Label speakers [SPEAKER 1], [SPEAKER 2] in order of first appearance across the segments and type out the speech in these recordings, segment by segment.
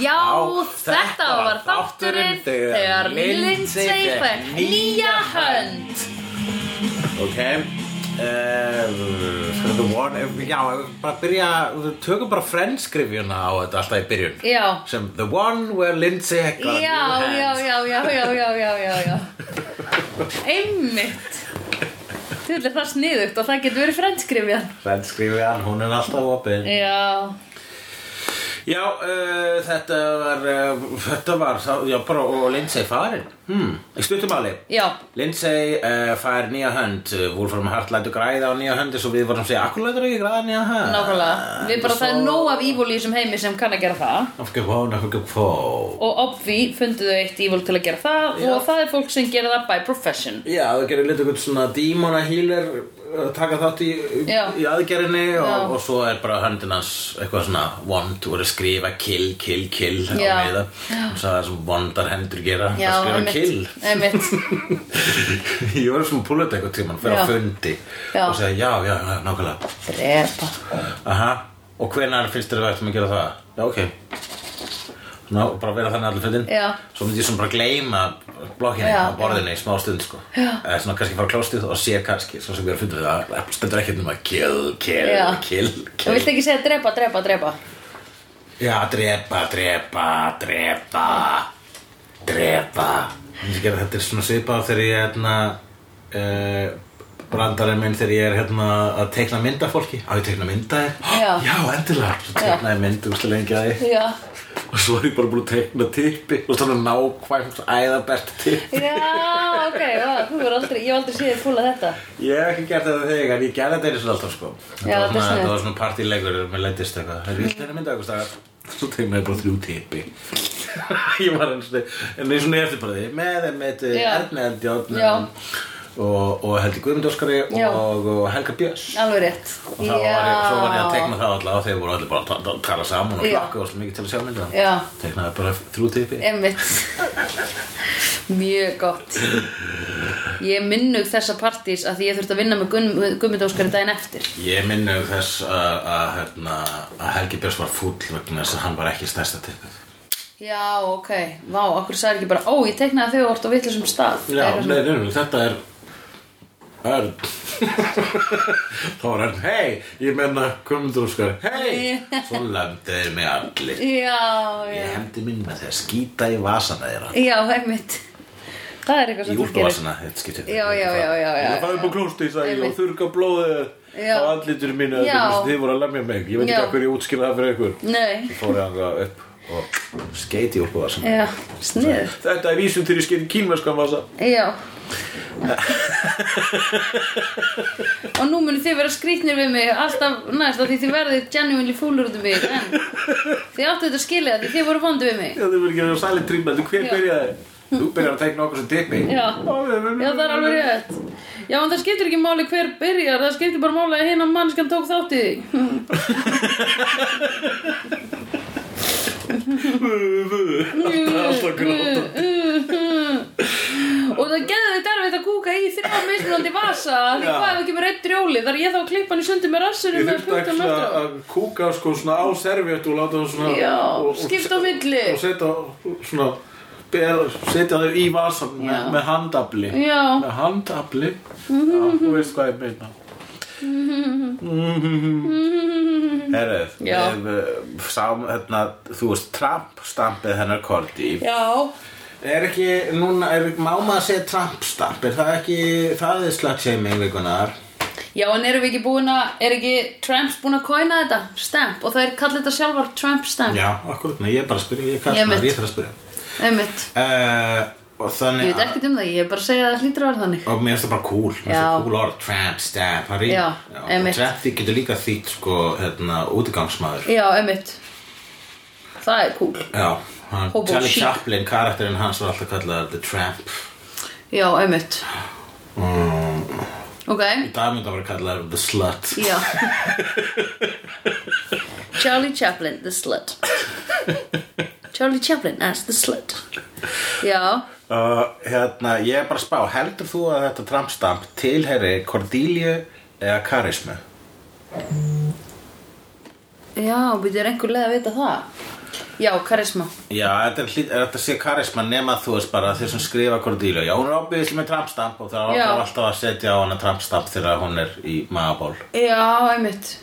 [SPEAKER 1] Já, þetta var þátturinn þegar Lindsay fekk nýja hönd.
[SPEAKER 2] Ok ehm, uh, Skal þetta von Já, bara byrja Við tökum bara friendskrifjuna á þetta alltaf í byrjun
[SPEAKER 1] Já.
[SPEAKER 2] Sem the one where Lindsay had
[SPEAKER 1] Já,
[SPEAKER 2] got new hands
[SPEAKER 1] já, já, já, já, já, já, já, já. Einmitt. Þú vilja það sniðugt og það getur verið frendskrifjan.
[SPEAKER 2] Friendskrifjan, hún er alltaf opið
[SPEAKER 1] Já,
[SPEAKER 2] Já, uh, þetta var uh, Þetta var, þá- já, bara Og Lindsay farin hmm. Í stuttumali
[SPEAKER 1] já,
[SPEAKER 2] Lindsay uh, fær nýja hönd Wolfram Hart lætur græða á nýja hönd eins og við vorum að segja, akkur lætur ekki græða nýja hönd
[SPEAKER 1] nákvæmlega. Við bara það er nóg af ívól í þessum heimi sem kann að gera það.
[SPEAKER 2] Af hverju hún, af hverju hún
[SPEAKER 1] Og obvi funduðu eitt ívól til að gera það og það er fólk sem gera það by profession.
[SPEAKER 2] Já, það gerir litið einhvern svona dímona hýlir taka þátt í,
[SPEAKER 1] Já.
[SPEAKER 2] í aðgerinni
[SPEAKER 1] Já.
[SPEAKER 2] og, og svo er bara höndin hans eitthvað svona vond og er að skrifa kill, kill, kill
[SPEAKER 1] Já.
[SPEAKER 2] á miða og það er sem vondar hendur gera
[SPEAKER 1] Já,
[SPEAKER 2] að skrifa
[SPEAKER 1] einmitt.
[SPEAKER 2] kill
[SPEAKER 1] Einmitt.
[SPEAKER 2] Ég var svona púlötu eitthvað tímann fyrir
[SPEAKER 1] Já.
[SPEAKER 2] að fundi
[SPEAKER 1] Já.
[SPEAKER 2] og segja já, já, já, nákvæmlega
[SPEAKER 1] Drepa.
[SPEAKER 2] Aha, og hvenær finnst þér að verðum að gera það? Já, ok Ná, bara vera þannig allir fundin
[SPEAKER 1] Já.
[SPEAKER 2] Svo myndi ég svona bara gleyma blokkinni
[SPEAKER 1] Já,
[SPEAKER 2] á borðinni í smá stund sko Já Eða svona kannski fara á klóstið og sé kannski Svo sem ég er að fundið það það Stendur ekkert um að kill, kill,
[SPEAKER 1] Já.
[SPEAKER 2] kill,
[SPEAKER 1] Þú
[SPEAKER 2] kill
[SPEAKER 1] vilt ekki segja drepa, drepa, drepa.
[SPEAKER 2] Já, drepa, drepa, drepa Drepa Ég gera þetta er svona svipað þegar ég hérna uh, brandarinn minn þegar ég er hérna að teikna mynda fólki á ég teikna mynda þér
[SPEAKER 1] Já.
[SPEAKER 2] já endilega svo
[SPEAKER 1] Já.
[SPEAKER 2] teikna ég mynd úrslega lengi að þig
[SPEAKER 1] Já.
[SPEAKER 2] og svo er ég bara búin að teikna tippi og þannig nákvæmt æðabert tipp
[SPEAKER 1] Já, ok, já, þú er aldrei, ég hef aldrei séð þér fúla þetta
[SPEAKER 2] ég hef ekki gert þetta þegar en ég gerði þetta einu svona alltaf sko
[SPEAKER 1] Já,
[SPEAKER 2] var
[SPEAKER 1] þetta er
[SPEAKER 2] svona,
[SPEAKER 1] sniðugt.
[SPEAKER 2] þetta var svona partíleikur með lendist eitthvað það er vilt þetta mynda eitthvað staðar svo teikna ég bara þrjú tippi ég var einu svona en einu svona eftir bara því með með
[SPEAKER 1] Já.
[SPEAKER 2] Erni Eldjón
[SPEAKER 1] Já.
[SPEAKER 2] og, og Helgi Guðmund Óskari
[SPEAKER 1] Já.
[SPEAKER 2] og, og Helga Björns
[SPEAKER 1] Alveg rétt
[SPEAKER 2] og þá var ég, svo var ég að teikna það alltaf og þeir voru allir bara að ta- ta- tala saman og
[SPEAKER 1] Já.
[SPEAKER 2] klakka og svo mikið til að sjá mynda
[SPEAKER 1] Já.
[SPEAKER 2] teiknaði bara þrjú tippi
[SPEAKER 1] Einmitt Mjög gott Ég minnug þessa partís að því ég þurfti að vinna með Gunn- Guðmund Óskari daginn eftir
[SPEAKER 2] Ég minni um þess að, að, hérna, að Helgi Björns var fúll vegna þess að hann var ekki stærsta tippið.
[SPEAKER 1] Já, ok, vá, okkur sagði ekki bara Ó, ég teiknaði þau og orðt á vitlisum stað
[SPEAKER 2] Já,
[SPEAKER 1] Eitthvað
[SPEAKER 2] nei,
[SPEAKER 1] svona.
[SPEAKER 2] nei, nei, þetta er Örn. Þá var Örn, hei, ég menna, komum Óskar, hei, svo lömduður mig allir.
[SPEAKER 1] Já, já
[SPEAKER 2] Ég hefndi minn með því að skýta í vasana þeirra.
[SPEAKER 1] Já, einmitt Það er eitthvað sem
[SPEAKER 2] Í
[SPEAKER 1] þú gerir
[SPEAKER 2] úlpavasana, þetta skiptir.
[SPEAKER 1] Já, já, já, já, já,
[SPEAKER 2] Ég fæði upp á klósti, sagði ég,
[SPEAKER 1] Einmitt.
[SPEAKER 2] og þurrka blóðið
[SPEAKER 1] Já.
[SPEAKER 2] á allitur mínu.
[SPEAKER 1] Já.
[SPEAKER 2] Þið voru að lemja mig, ég veit
[SPEAKER 1] Já.
[SPEAKER 2] ekki hvað ég útskýrði það fyrir ykkur.
[SPEAKER 1] Nei,
[SPEAKER 2] fór ég þangað upp og skeit í úlpuvasa
[SPEAKER 1] já, snið
[SPEAKER 2] Þetta er vísum til ég skeit í kínverskan vasa
[SPEAKER 1] Já Og nú munið þið vera skrýtnir við mig alltaf næst af því þið verðið genuinely fúlur út um mig en þið áttu þetta skilja því þið voru vondu við mig
[SPEAKER 2] Þetta er verið ekki að sæli trýma, þú hver
[SPEAKER 1] Já.
[SPEAKER 2] byrjaði? Þú byrjar að teikna okkur sem tippi
[SPEAKER 1] Já, já það er alveg rétt Já, en það skiptir ekki máli hver byrjar það skiptir bara máli að hinn að mannskan tók þátt í því
[SPEAKER 2] Alltaf alltaf gróta
[SPEAKER 1] Og það geði þetta erfitt að kúka í þrjá mismunandi vasa af því
[SPEAKER 2] Já.
[SPEAKER 1] hvað ef ekki með reitt drjóli þar ég þá að klippa hann í sundi með rassunum
[SPEAKER 2] Ég
[SPEAKER 1] með
[SPEAKER 2] þurfti ekki
[SPEAKER 1] punktum
[SPEAKER 2] að,
[SPEAKER 1] eftir á.
[SPEAKER 2] að kúka sko svona á serviett og láta það svona
[SPEAKER 1] Já,
[SPEAKER 2] og- og-
[SPEAKER 1] skipta á milli
[SPEAKER 2] og setja svona ber, setja þau í vasan með,
[SPEAKER 1] Já.
[SPEAKER 2] með handafli
[SPEAKER 1] Já.
[SPEAKER 2] með handafli Já, þú veist hvað ég meina Herrið,
[SPEAKER 1] Já.
[SPEAKER 2] við sáum hérna, þú veist, Trump stampið hennar Korti
[SPEAKER 1] Já,
[SPEAKER 2] Er ekki, núna, er, má maður segja Trump stamp, er það ekki, það er slagshaming vikunar
[SPEAKER 1] Já, en erum við ekki búin að, er ekki Tramps búin að kóina þetta? Stamp, og það er kallið þetta sjálfar Tramp stamp.
[SPEAKER 2] Já, akkurat, nei, ég er bara að spyrja, ég er
[SPEAKER 1] Ég veit.
[SPEAKER 2] kastnar, ég þarf að spyrja
[SPEAKER 1] Einmitt.
[SPEAKER 2] uh, og
[SPEAKER 1] Ég
[SPEAKER 2] þannig
[SPEAKER 1] veit ekkert um það, ég er bara að segja að það hlýtur að vera þannig.
[SPEAKER 2] og mér finnst það bara cool, mér finnst
[SPEAKER 1] Já.
[SPEAKER 2] það cool orð tramp, stamp, það rým
[SPEAKER 1] Já,
[SPEAKER 2] og
[SPEAKER 1] einmitt.
[SPEAKER 2] tramp því getur líka þýtt sko hérna, útigangsmaður
[SPEAKER 1] Já, einmitt. Það er cool.
[SPEAKER 2] já, hann,
[SPEAKER 1] Hobo
[SPEAKER 2] Charlie
[SPEAKER 1] chic.
[SPEAKER 2] Chaplin, karakterinn hans var alltaf kallað the tramp
[SPEAKER 1] Já, einmitt.
[SPEAKER 2] mm,
[SPEAKER 1] Ok,
[SPEAKER 2] í dag myndi að vera kallað the slut
[SPEAKER 1] já. Charlie Chaplin, the slut. Charlie Chaplin as the slut. Já,
[SPEAKER 2] uh, hérna, ég er bara að spá heldur þú að þetta tramp stamp tilheri Cordelia eða Karismu
[SPEAKER 1] já, við erum einhver leið að vita það. Já, karisma
[SPEAKER 2] Já, þetta er hlýt, er þetta sé karisma nema þú veist bara þeir sem skrifa Cordelia Já, hún er ábyggislega með trampstamp og það
[SPEAKER 1] Já.
[SPEAKER 2] er alltaf að setja á hana trampstamp þegar hún er í magaból
[SPEAKER 1] Já, einmitt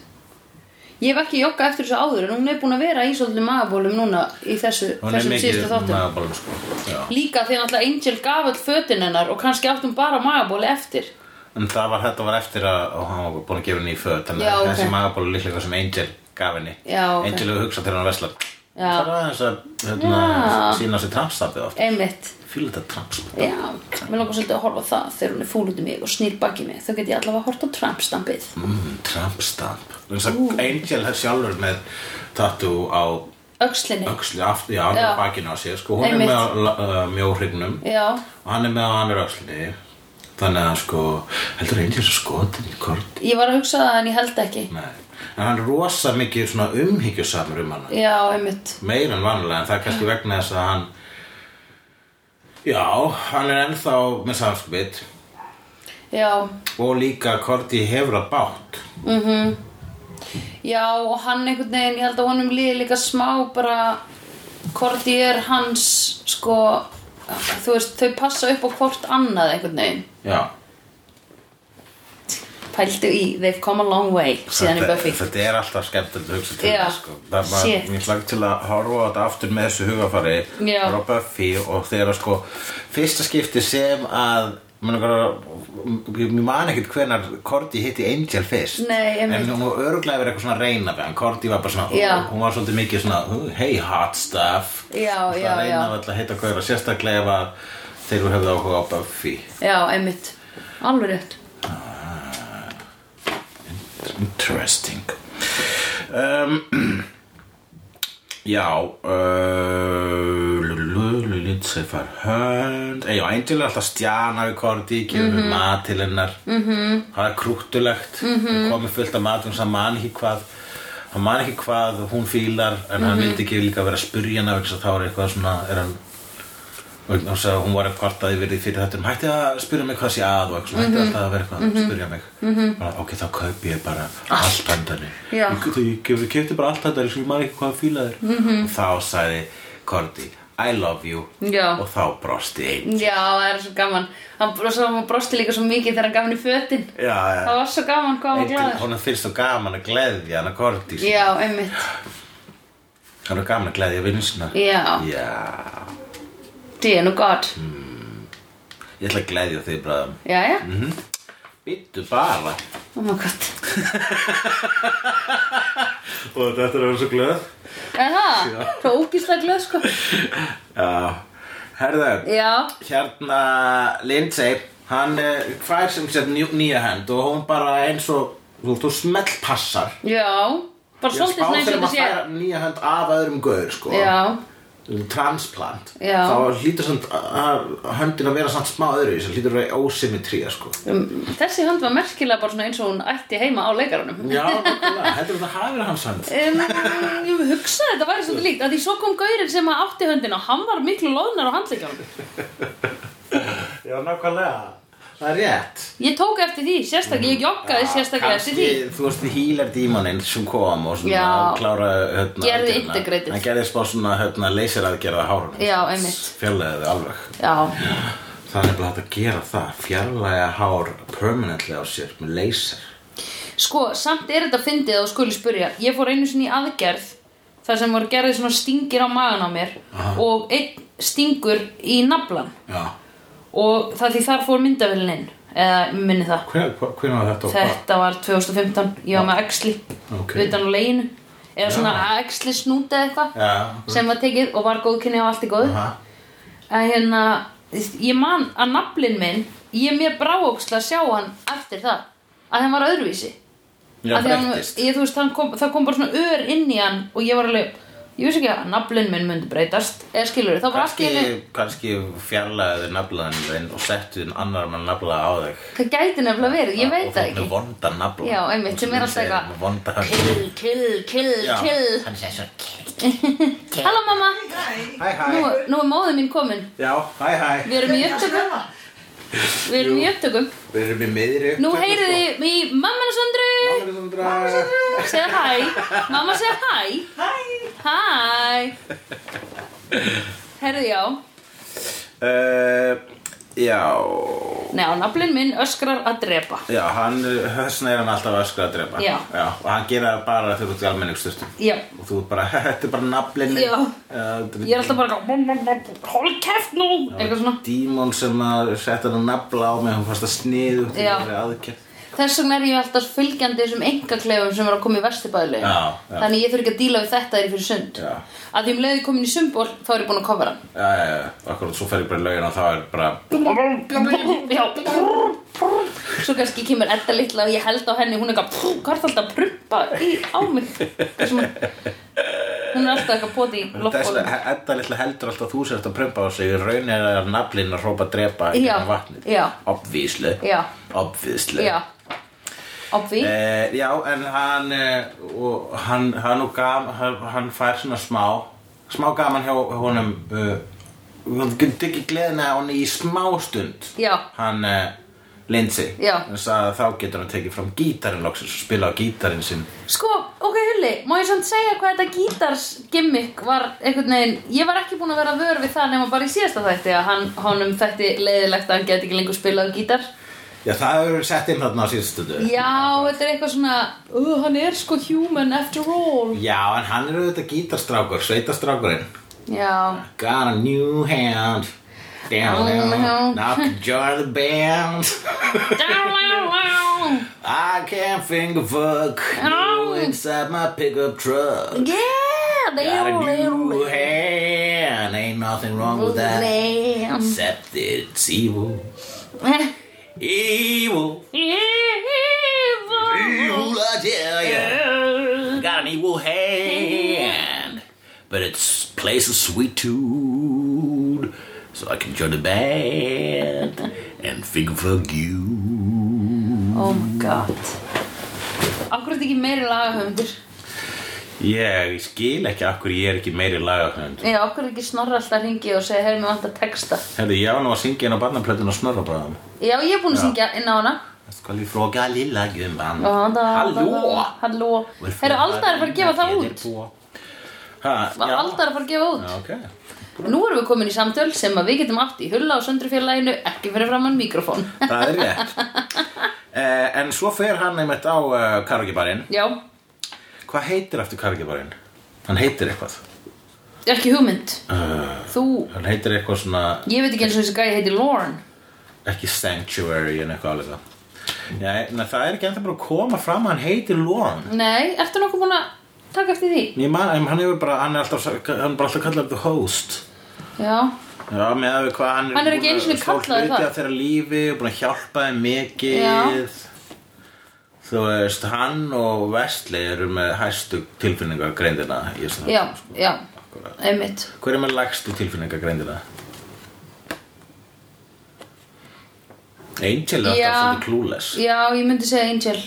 [SPEAKER 1] Ég hef ekki joggað eftir þessu áður en hún er búin að vera í svolítið magabólum núna í þessu,
[SPEAKER 2] Hún er
[SPEAKER 1] þessum
[SPEAKER 2] mikið
[SPEAKER 1] síðustu þáttum
[SPEAKER 2] magabólum sko Já.
[SPEAKER 1] Líka því að náttúrulega Angel gaf all fötin hennar og kannski átt hún bara magaból eftir
[SPEAKER 2] En það var, þetta var eftir að og hann var búin að gefa henni í föt Þannig
[SPEAKER 1] Já,
[SPEAKER 2] að
[SPEAKER 1] ok.
[SPEAKER 2] þessi magaból er líklega eitthvað sem Angel gaf henni
[SPEAKER 1] Já, ok.
[SPEAKER 2] Angel hefur hugsað þegar hann veslar
[SPEAKER 1] Já.
[SPEAKER 2] Það var aðeins að hérna,
[SPEAKER 1] Já.
[SPEAKER 2] sína sér trampstampið oft
[SPEAKER 1] Einmitt
[SPEAKER 2] Fýla þetta trampstamp
[SPEAKER 1] Já, mér langar svolítið að horfa á það þegar hún er fúl út í mig og snýr baki í mig þá get ég allavega hort á trampstampið
[SPEAKER 2] mm, Trampstamp Angel er sjálfur með tattoo á
[SPEAKER 1] Öxlinni
[SPEAKER 2] öxli aftur, já, hann
[SPEAKER 1] Já.
[SPEAKER 2] er bakinn á sér sko, hún
[SPEAKER 1] Einmitt.
[SPEAKER 2] er með á la- uh, mjóhrygnum
[SPEAKER 1] Já,
[SPEAKER 2] og hann er með á annar öxli þannig að sko, heldur einnig þessu skotin í kort
[SPEAKER 1] ég var að hugsa það en ég held ekki
[SPEAKER 2] Nei. en hann er rosa mikið svona umhyggjusamur um hana
[SPEAKER 1] Já, einmitt
[SPEAKER 2] meira en vanlega, en það er kannski vegna þess að hann já, hann er ennþá með samskipitt
[SPEAKER 1] Já,
[SPEAKER 2] og líka Korti hefur að bátt
[SPEAKER 1] Já, og hann einhvern veginn, ég held að honum líði líka smá bara hvort ég er hans, sko, þú veist, þau passa upp á hvort annað einhvern veginn.
[SPEAKER 2] já,
[SPEAKER 1] Pældu í, they've come a long way, síðan í
[SPEAKER 2] þetta,
[SPEAKER 1] Buffy.
[SPEAKER 2] þetta er alltaf skemmtilegt að hugsa til
[SPEAKER 1] Já.
[SPEAKER 2] það sko. það var
[SPEAKER 1] Shit.
[SPEAKER 2] mjög slag til að horfa á þetta aftur með þessu hugafari
[SPEAKER 1] Já.
[SPEAKER 2] frá Buffy og þegar að sko fyrsta skipti sem að mér man ekkert hvenar Korti hitti Angel fyrst
[SPEAKER 1] Nei,
[SPEAKER 2] en
[SPEAKER 1] einmitt.
[SPEAKER 2] hún var örglega verið eitthvað svona að reyna við hann Korti var bara svona,
[SPEAKER 1] Já.
[SPEAKER 2] hún var svolítið mikið svona hey hot stuff
[SPEAKER 1] Já,
[SPEAKER 2] Alltaf
[SPEAKER 1] já,
[SPEAKER 2] að reyna
[SPEAKER 1] já.
[SPEAKER 2] við alltaf að heita hvað er sérstaklega ef að þeir höfðu áhuga á Buffy
[SPEAKER 1] Já, einmitt. Alveg rétt.
[SPEAKER 2] Interesting um, Já uh, lululu, Let's say for hand Eh, Já, Angel er alltaf stjana við Korti gefur mm mat til hennar -hmm. það er krúttulegt mm -hmm. komið fullt af matum sem hann man ekki hvað hann man ekki hvað hún fílar en hann vildi ekki líka vera að spyrja hana vegna þess að þá er eitthvað svona er hann vegna þess að hún var að kvarta yfir því fyrir þetta um, hætti að spyrja mig hvað sé að og eitthvað,
[SPEAKER 1] Mhm.
[SPEAKER 2] hætti alltaf að vera eitthvað að spyrja mig bara, ok, þá kaupi ég bara allt handanni
[SPEAKER 1] Já.
[SPEAKER 2] ég, ég, ég kefti bara allt handanni svo ég maður ekki hvað fílaðir mm
[SPEAKER 1] Mhm.
[SPEAKER 2] -hmm. og þá sagði Korti I love you
[SPEAKER 1] Já.
[SPEAKER 2] og þá brosti einn
[SPEAKER 1] Já, það er svo gaman. Hann, og svo hann brosti líka svo mikið þegar hann gaf henni fötin.
[SPEAKER 2] já,
[SPEAKER 1] Það var svo gaman hvað hann var
[SPEAKER 2] Engin,
[SPEAKER 1] glæður.
[SPEAKER 2] hún er fyrst svo gaman að gleðja hana Korti sko.
[SPEAKER 1] Já, einmitt.
[SPEAKER 2] hann er gaman að gleðja vinsina
[SPEAKER 1] Já.
[SPEAKER 2] já,
[SPEAKER 1] Dino God.
[SPEAKER 2] Mm. ég ætla að gleðja þig bræðum
[SPEAKER 1] Já, já.
[SPEAKER 2] Bittu bara
[SPEAKER 1] Oh my god.
[SPEAKER 2] og þetta er að vera svo glöð
[SPEAKER 1] Er það? Svo ógíslega glöð, sko.
[SPEAKER 2] já, herðu
[SPEAKER 1] Já.
[SPEAKER 2] hérna Lindsay hann eh, fær sem sér nýja hend og hún bara eins og þú, þú smellpassar
[SPEAKER 1] Já. Bara
[SPEAKER 2] Ég
[SPEAKER 1] svolítið svona eins og þetta
[SPEAKER 2] þeim að
[SPEAKER 1] sé.
[SPEAKER 2] færa nýja hend af öðrum gaur sko Um
[SPEAKER 1] Já,
[SPEAKER 2] transplant
[SPEAKER 1] Já.
[SPEAKER 2] þá hlýtur samt að höndin að vera samt smá öðru sem hlýtur að vera ósymmetría sko
[SPEAKER 1] um, þessi hönd var merkilega bara svona eins og hún ætti heima á leikaranum
[SPEAKER 2] já, nákvæmlega. heldur þetta hafi verið hans hönd
[SPEAKER 1] um, Ég hugsaði þetta væri svolítið líkt að því svo kom gaurinn sem að átti höndin og hann var miklu loðnar á handleikjanum
[SPEAKER 2] já, nákvæmlega það er rétt
[SPEAKER 1] Ég tók eftir því, sérstaklega, ég joggaði sérstaklega eftir því
[SPEAKER 2] Kannski, þú veist, healer dímoninn sem kom og svona
[SPEAKER 1] Já.
[SPEAKER 2] klára hérna,
[SPEAKER 1] Gerði
[SPEAKER 2] aðgerðina.
[SPEAKER 1] integrated.
[SPEAKER 2] Hann gerði spá svona hérna, leysir aðgerða hárunum
[SPEAKER 1] Já, einmitt.
[SPEAKER 2] Fjarlæði þau alveg
[SPEAKER 1] Já,
[SPEAKER 2] Það er nefnilega hægt að gera það Fjarlæga hár permanently á sér með leysir
[SPEAKER 1] sko, samt er þetta fyndið að þú skuli spurja Ég fór einu sinni í aðgerð þar sem voru gerðið svona stingir á magan á mér og einn stingur í naflan
[SPEAKER 2] Já
[SPEAKER 1] og það því þar fór myndavillin inn eða mig minni það
[SPEAKER 2] Hver, hver, hver var þetta og hvað?
[SPEAKER 1] Þetta var 2015, ég var með æxli
[SPEAKER 2] sko. Ok.
[SPEAKER 1] utan á leginu eða svona æxli snút eða eitthvað
[SPEAKER 2] Já,
[SPEAKER 1] sem var tekið og var góðkynni og allt í góð
[SPEAKER 2] Aha.
[SPEAKER 1] að hérna, ég man að naflin minn, ég mér bráóksla að sjá hann eftir það að hann var öðruvísi
[SPEAKER 2] Já,
[SPEAKER 1] Af því hann,
[SPEAKER 2] breyttist
[SPEAKER 1] ég, þú veist, hann kom, það kom bara svona ör inn í hann og ég var alveg, ég vissi ekki að naflin minn myndi breytast eða skilur, þá var allt í
[SPEAKER 2] Kannski,
[SPEAKER 1] henni
[SPEAKER 2] kannski fjarlæðu naflaðan þinn og settu þinn annar mann naflaða á þig
[SPEAKER 1] það gæti nefnilega verið, ég veit
[SPEAKER 2] Og þú
[SPEAKER 1] það
[SPEAKER 2] ert með
[SPEAKER 1] ekki
[SPEAKER 2] vonda nafla
[SPEAKER 1] Já, einmitt, sem er alltaf eitthvað-
[SPEAKER 2] Vonda
[SPEAKER 1] kill, kill, kill,
[SPEAKER 2] Já,
[SPEAKER 1] kill
[SPEAKER 2] hann segir svona kill
[SPEAKER 1] Halló mamma
[SPEAKER 2] Hæ, hæ
[SPEAKER 1] Nú, nú er móðið mín komin
[SPEAKER 2] Já, hæ, hæ
[SPEAKER 1] Við erum í upptökum Við erum í upptökum
[SPEAKER 2] Við erum í miðri
[SPEAKER 1] Nú heyrið
[SPEAKER 2] sko.
[SPEAKER 1] þið í mamman og Söndru
[SPEAKER 2] Mamma er svona
[SPEAKER 1] Segðu hæ Mamma segðu hæ Hæ Bye Herði já
[SPEAKER 2] Uh, já,
[SPEAKER 1] Nei, á naflinn minn öskrar að drepa
[SPEAKER 2] já, hann, þessna er hann alltaf öskur að drepa.
[SPEAKER 1] Já.
[SPEAKER 2] og hann gera það bara þegar þú ert í almenningstustum.
[SPEAKER 1] Já,
[SPEAKER 2] Og þú ert bara, þetta er bara naflinni.
[SPEAKER 1] Já. ég er alltaf bara "Mmm, Hálf keft nú Eitthvað svona
[SPEAKER 2] Dímon sem að setja hann að nafla á mig, hann fannst að sniðu til
[SPEAKER 1] Já.
[SPEAKER 2] þeirri aðgerð.
[SPEAKER 1] Þess vegna er ég alltaf fylgjandi þessum engaklefum sem er að koma í vestibæðileg
[SPEAKER 2] Já, já.
[SPEAKER 1] Þannig ég þurf ekki að díla við þetta þegar ég fyrir sund
[SPEAKER 2] Já.
[SPEAKER 1] Að því um leiði komin í sumból þá er ég búin að kofra hann
[SPEAKER 2] Já, já, já, akkurat, svo fer ég bara í laugina og þá er bara,
[SPEAKER 1] Já, prr, prr. Svo kannski kemur Edda litla og ég held á henni Hún er eitthvað, prr, hvað er það alltaf að prumpa í, á mig Eitthvað svona. Hún er alltaf eitthvað bóti í
[SPEAKER 2] Þess-
[SPEAKER 1] loftbólum
[SPEAKER 2] Edda litla heldur alltaf að þú sért að prumpa á sig, í raun er að naflinn að hrópa að drepa
[SPEAKER 1] Já,
[SPEAKER 2] gegnum vatnið.
[SPEAKER 1] já.
[SPEAKER 2] Obvíslu.
[SPEAKER 1] Já.
[SPEAKER 2] Obvíslu.
[SPEAKER 1] Já Obvi
[SPEAKER 2] Eh, já, en hann, eh, og hann, hann, og gam, hann, hann fær svona smá, smá gaman hjá honum, eh, hann getur ekki gleðina á hann í smá stund,
[SPEAKER 1] Já.
[SPEAKER 2] hann eh, Lindsay,
[SPEAKER 1] Já.
[SPEAKER 2] þess að þá getur hann tekið fram gítarinn loksins og spila á gítarinn sinn.
[SPEAKER 1] Sko, ok Hulli, má ég samt segja hvað þetta gítarsgimmick var einhvern veginn, ég var ekki búin að vera vör við það nema bara í síðasta þætti að hann, honum þætti leiðilegt að hann geti ekki lengur spilað á gítar
[SPEAKER 2] Já, það hefur verið sett inn þarna á síðustu stundu.
[SPEAKER 1] Já, þetta er eitthvað svona, uh, hann er sko human after all
[SPEAKER 2] Já, en hann er auðvitað gítarstrákur, sveitastrákurinn.
[SPEAKER 1] Já,
[SPEAKER 2] Got a new hand,
[SPEAKER 1] Oh,
[SPEAKER 2] down,
[SPEAKER 1] no.
[SPEAKER 2] down, knock jar the band.
[SPEAKER 1] Oh
[SPEAKER 2] I can't finger fuck
[SPEAKER 1] Ow.
[SPEAKER 2] you inside my pickup truck.
[SPEAKER 1] yeah, they
[SPEAKER 2] Got
[SPEAKER 1] all
[SPEAKER 2] a
[SPEAKER 1] they
[SPEAKER 2] new
[SPEAKER 1] all-
[SPEAKER 2] hand, ain't nothing wrong with that.
[SPEAKER 1] Damn.
[SPEAKER 2] Except it's evil. Evil. Evil, I tell ya. Got an evil hand. But it's plays a sweet tune. So I can join the band and finger fuck you.
[SPEAKER 1] Oh my god Akkur er þetta ekki meiri lagahöfundur
[SPEAKER 2] Ég skil ekki akkur ég er ekki meiri lagahönd.
[SPEAKER 1] Já, okkur er ekki snorra alltaf ringi og segja, heyrðu, mér vantar texta.
[SPEAKER 2] Herðu, ég var nú að syngja inn á barnaplötun og snorra bráðum.
[SPEAKER 1] Já, ég er búin að syngja inn á hana.
[SPEAKER 2] Þetta skal ég fróka lilla gumman.
[SPEAKER 1] Halló!
[SPEAKER 2] Halló!
[SPEAKER 1] Halló. Heyrðu, Alda er að fara að gefa það út.
[SPEAKER 2] Hæ, já.
[SPEAKER 1] Alda er að fara að gefa
[SPEAKER 2] Já,
[SPEAKER 1] út.
[SPEAKER 2] ok.
[SPEAKER 1] Nú erum við komin í samtöl sem að við getum átt í hulla og söndrufélaginu, ekki fyrir framann mikrofón.
[SPEAKER 2] Það er rétt. Eh, en svo fer hann einmitt á uh, karaokebarinn.
[SPEAKER 1] Já,
[SPEAKER 2] Hvað heitir eftir karaokebarinn? Hann heitir eitthvað.
[SPEAKER 1] ekki hugmynd.
[SPEAKER 2] Uh,
[SPEAKER 1] Þú,
[SPEAKER 2] hann heitir eitthvað svona,
[SPEAKER 1] ég veit ekki eins og þessi gæi heiti Lauren.
[SPEAKER 2] ekki Sanctuary en eitthvað alveg það. Já, en það er ekki ennþá bara að koma fram að hann heitir Lorne.
[SPEAKER 1] Nei, ertu nokkuð búin að taka eftir því?
[SPEAKER 2] Ég man, en hann hefur bara, hann er alltaf, hann er bara alltaf kallað the host.
[SPEAKER 1] Já,
[SPEAKER 2] Já, með að við hvað hann
[SPEAKER 1] Hann er ekki einu sinni kallaður
[SPEAKER 2] það.
[SPEAKER 1] það.
[SPEAKER 2] Hann þeirra lífi og búin að hjálpa þeim mikið. Þú veist, hann og Vestli eru með hæstu tilfinningagrindina. í þessu þáttum,
[SPEAKER 1] já,
[SPEAKER 2] sko.
[SPEAKER 1] já,
[SPEAKER 2] Akkúrat.
[SPEAKER 1] einmitt.
[SPEAKER 2] Hver er með lægstu tilfinningagrindina? Angel er
[SPEAKER 1] Já.
[SPEAKER 2] alltaf svolítið klúles.
[SPEAKER 1] Já, ég myndi segja Angel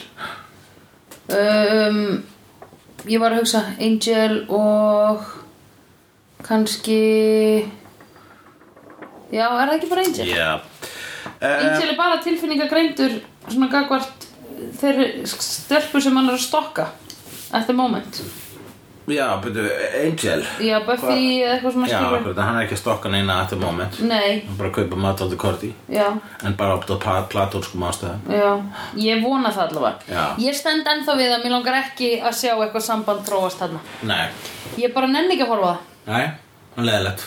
[SPEAKER 1] um, Ég var að hugsa Angel og kannski Já, er það ekki bara Angel?
[SPEAKER 2] Já. Eh,
[SPEAKER 1] Angel er bara tilfinningagreindur svona gagvart þeirri stelpur sem hann er að stokka at the moment
[SPEAKER 2] Já, byrju, Angel.
[SPEAKER 1] Já, Buffy eða eitthvað svona
[SPEAKER 2] Já,
[SPEAKER 1] skilur
[SPEAKER 2] akkurat, hann er ekki að stokka neina at the moment.
[SPEAKER 1] Nei,
[SPEAKER 2] Hann bara kaupa mat á the Cordy.
[SPEAKER 1] já,
[SPEAKER 2] En bara á platónskum ástæðum.
[SPEAKER 1] já Ég vona það allavega
[SPEAKER 2] Já.
[SPEAKER 1] Ég stend ennþá við að mér langar ekki að sjá eitthvað samband þróast þarna
[SPEAKER 2] Nei,
[SPEAKER 1] Ég bara nenni ekki að horfa á það
[SPEAKER 2] nei, hann leðilegt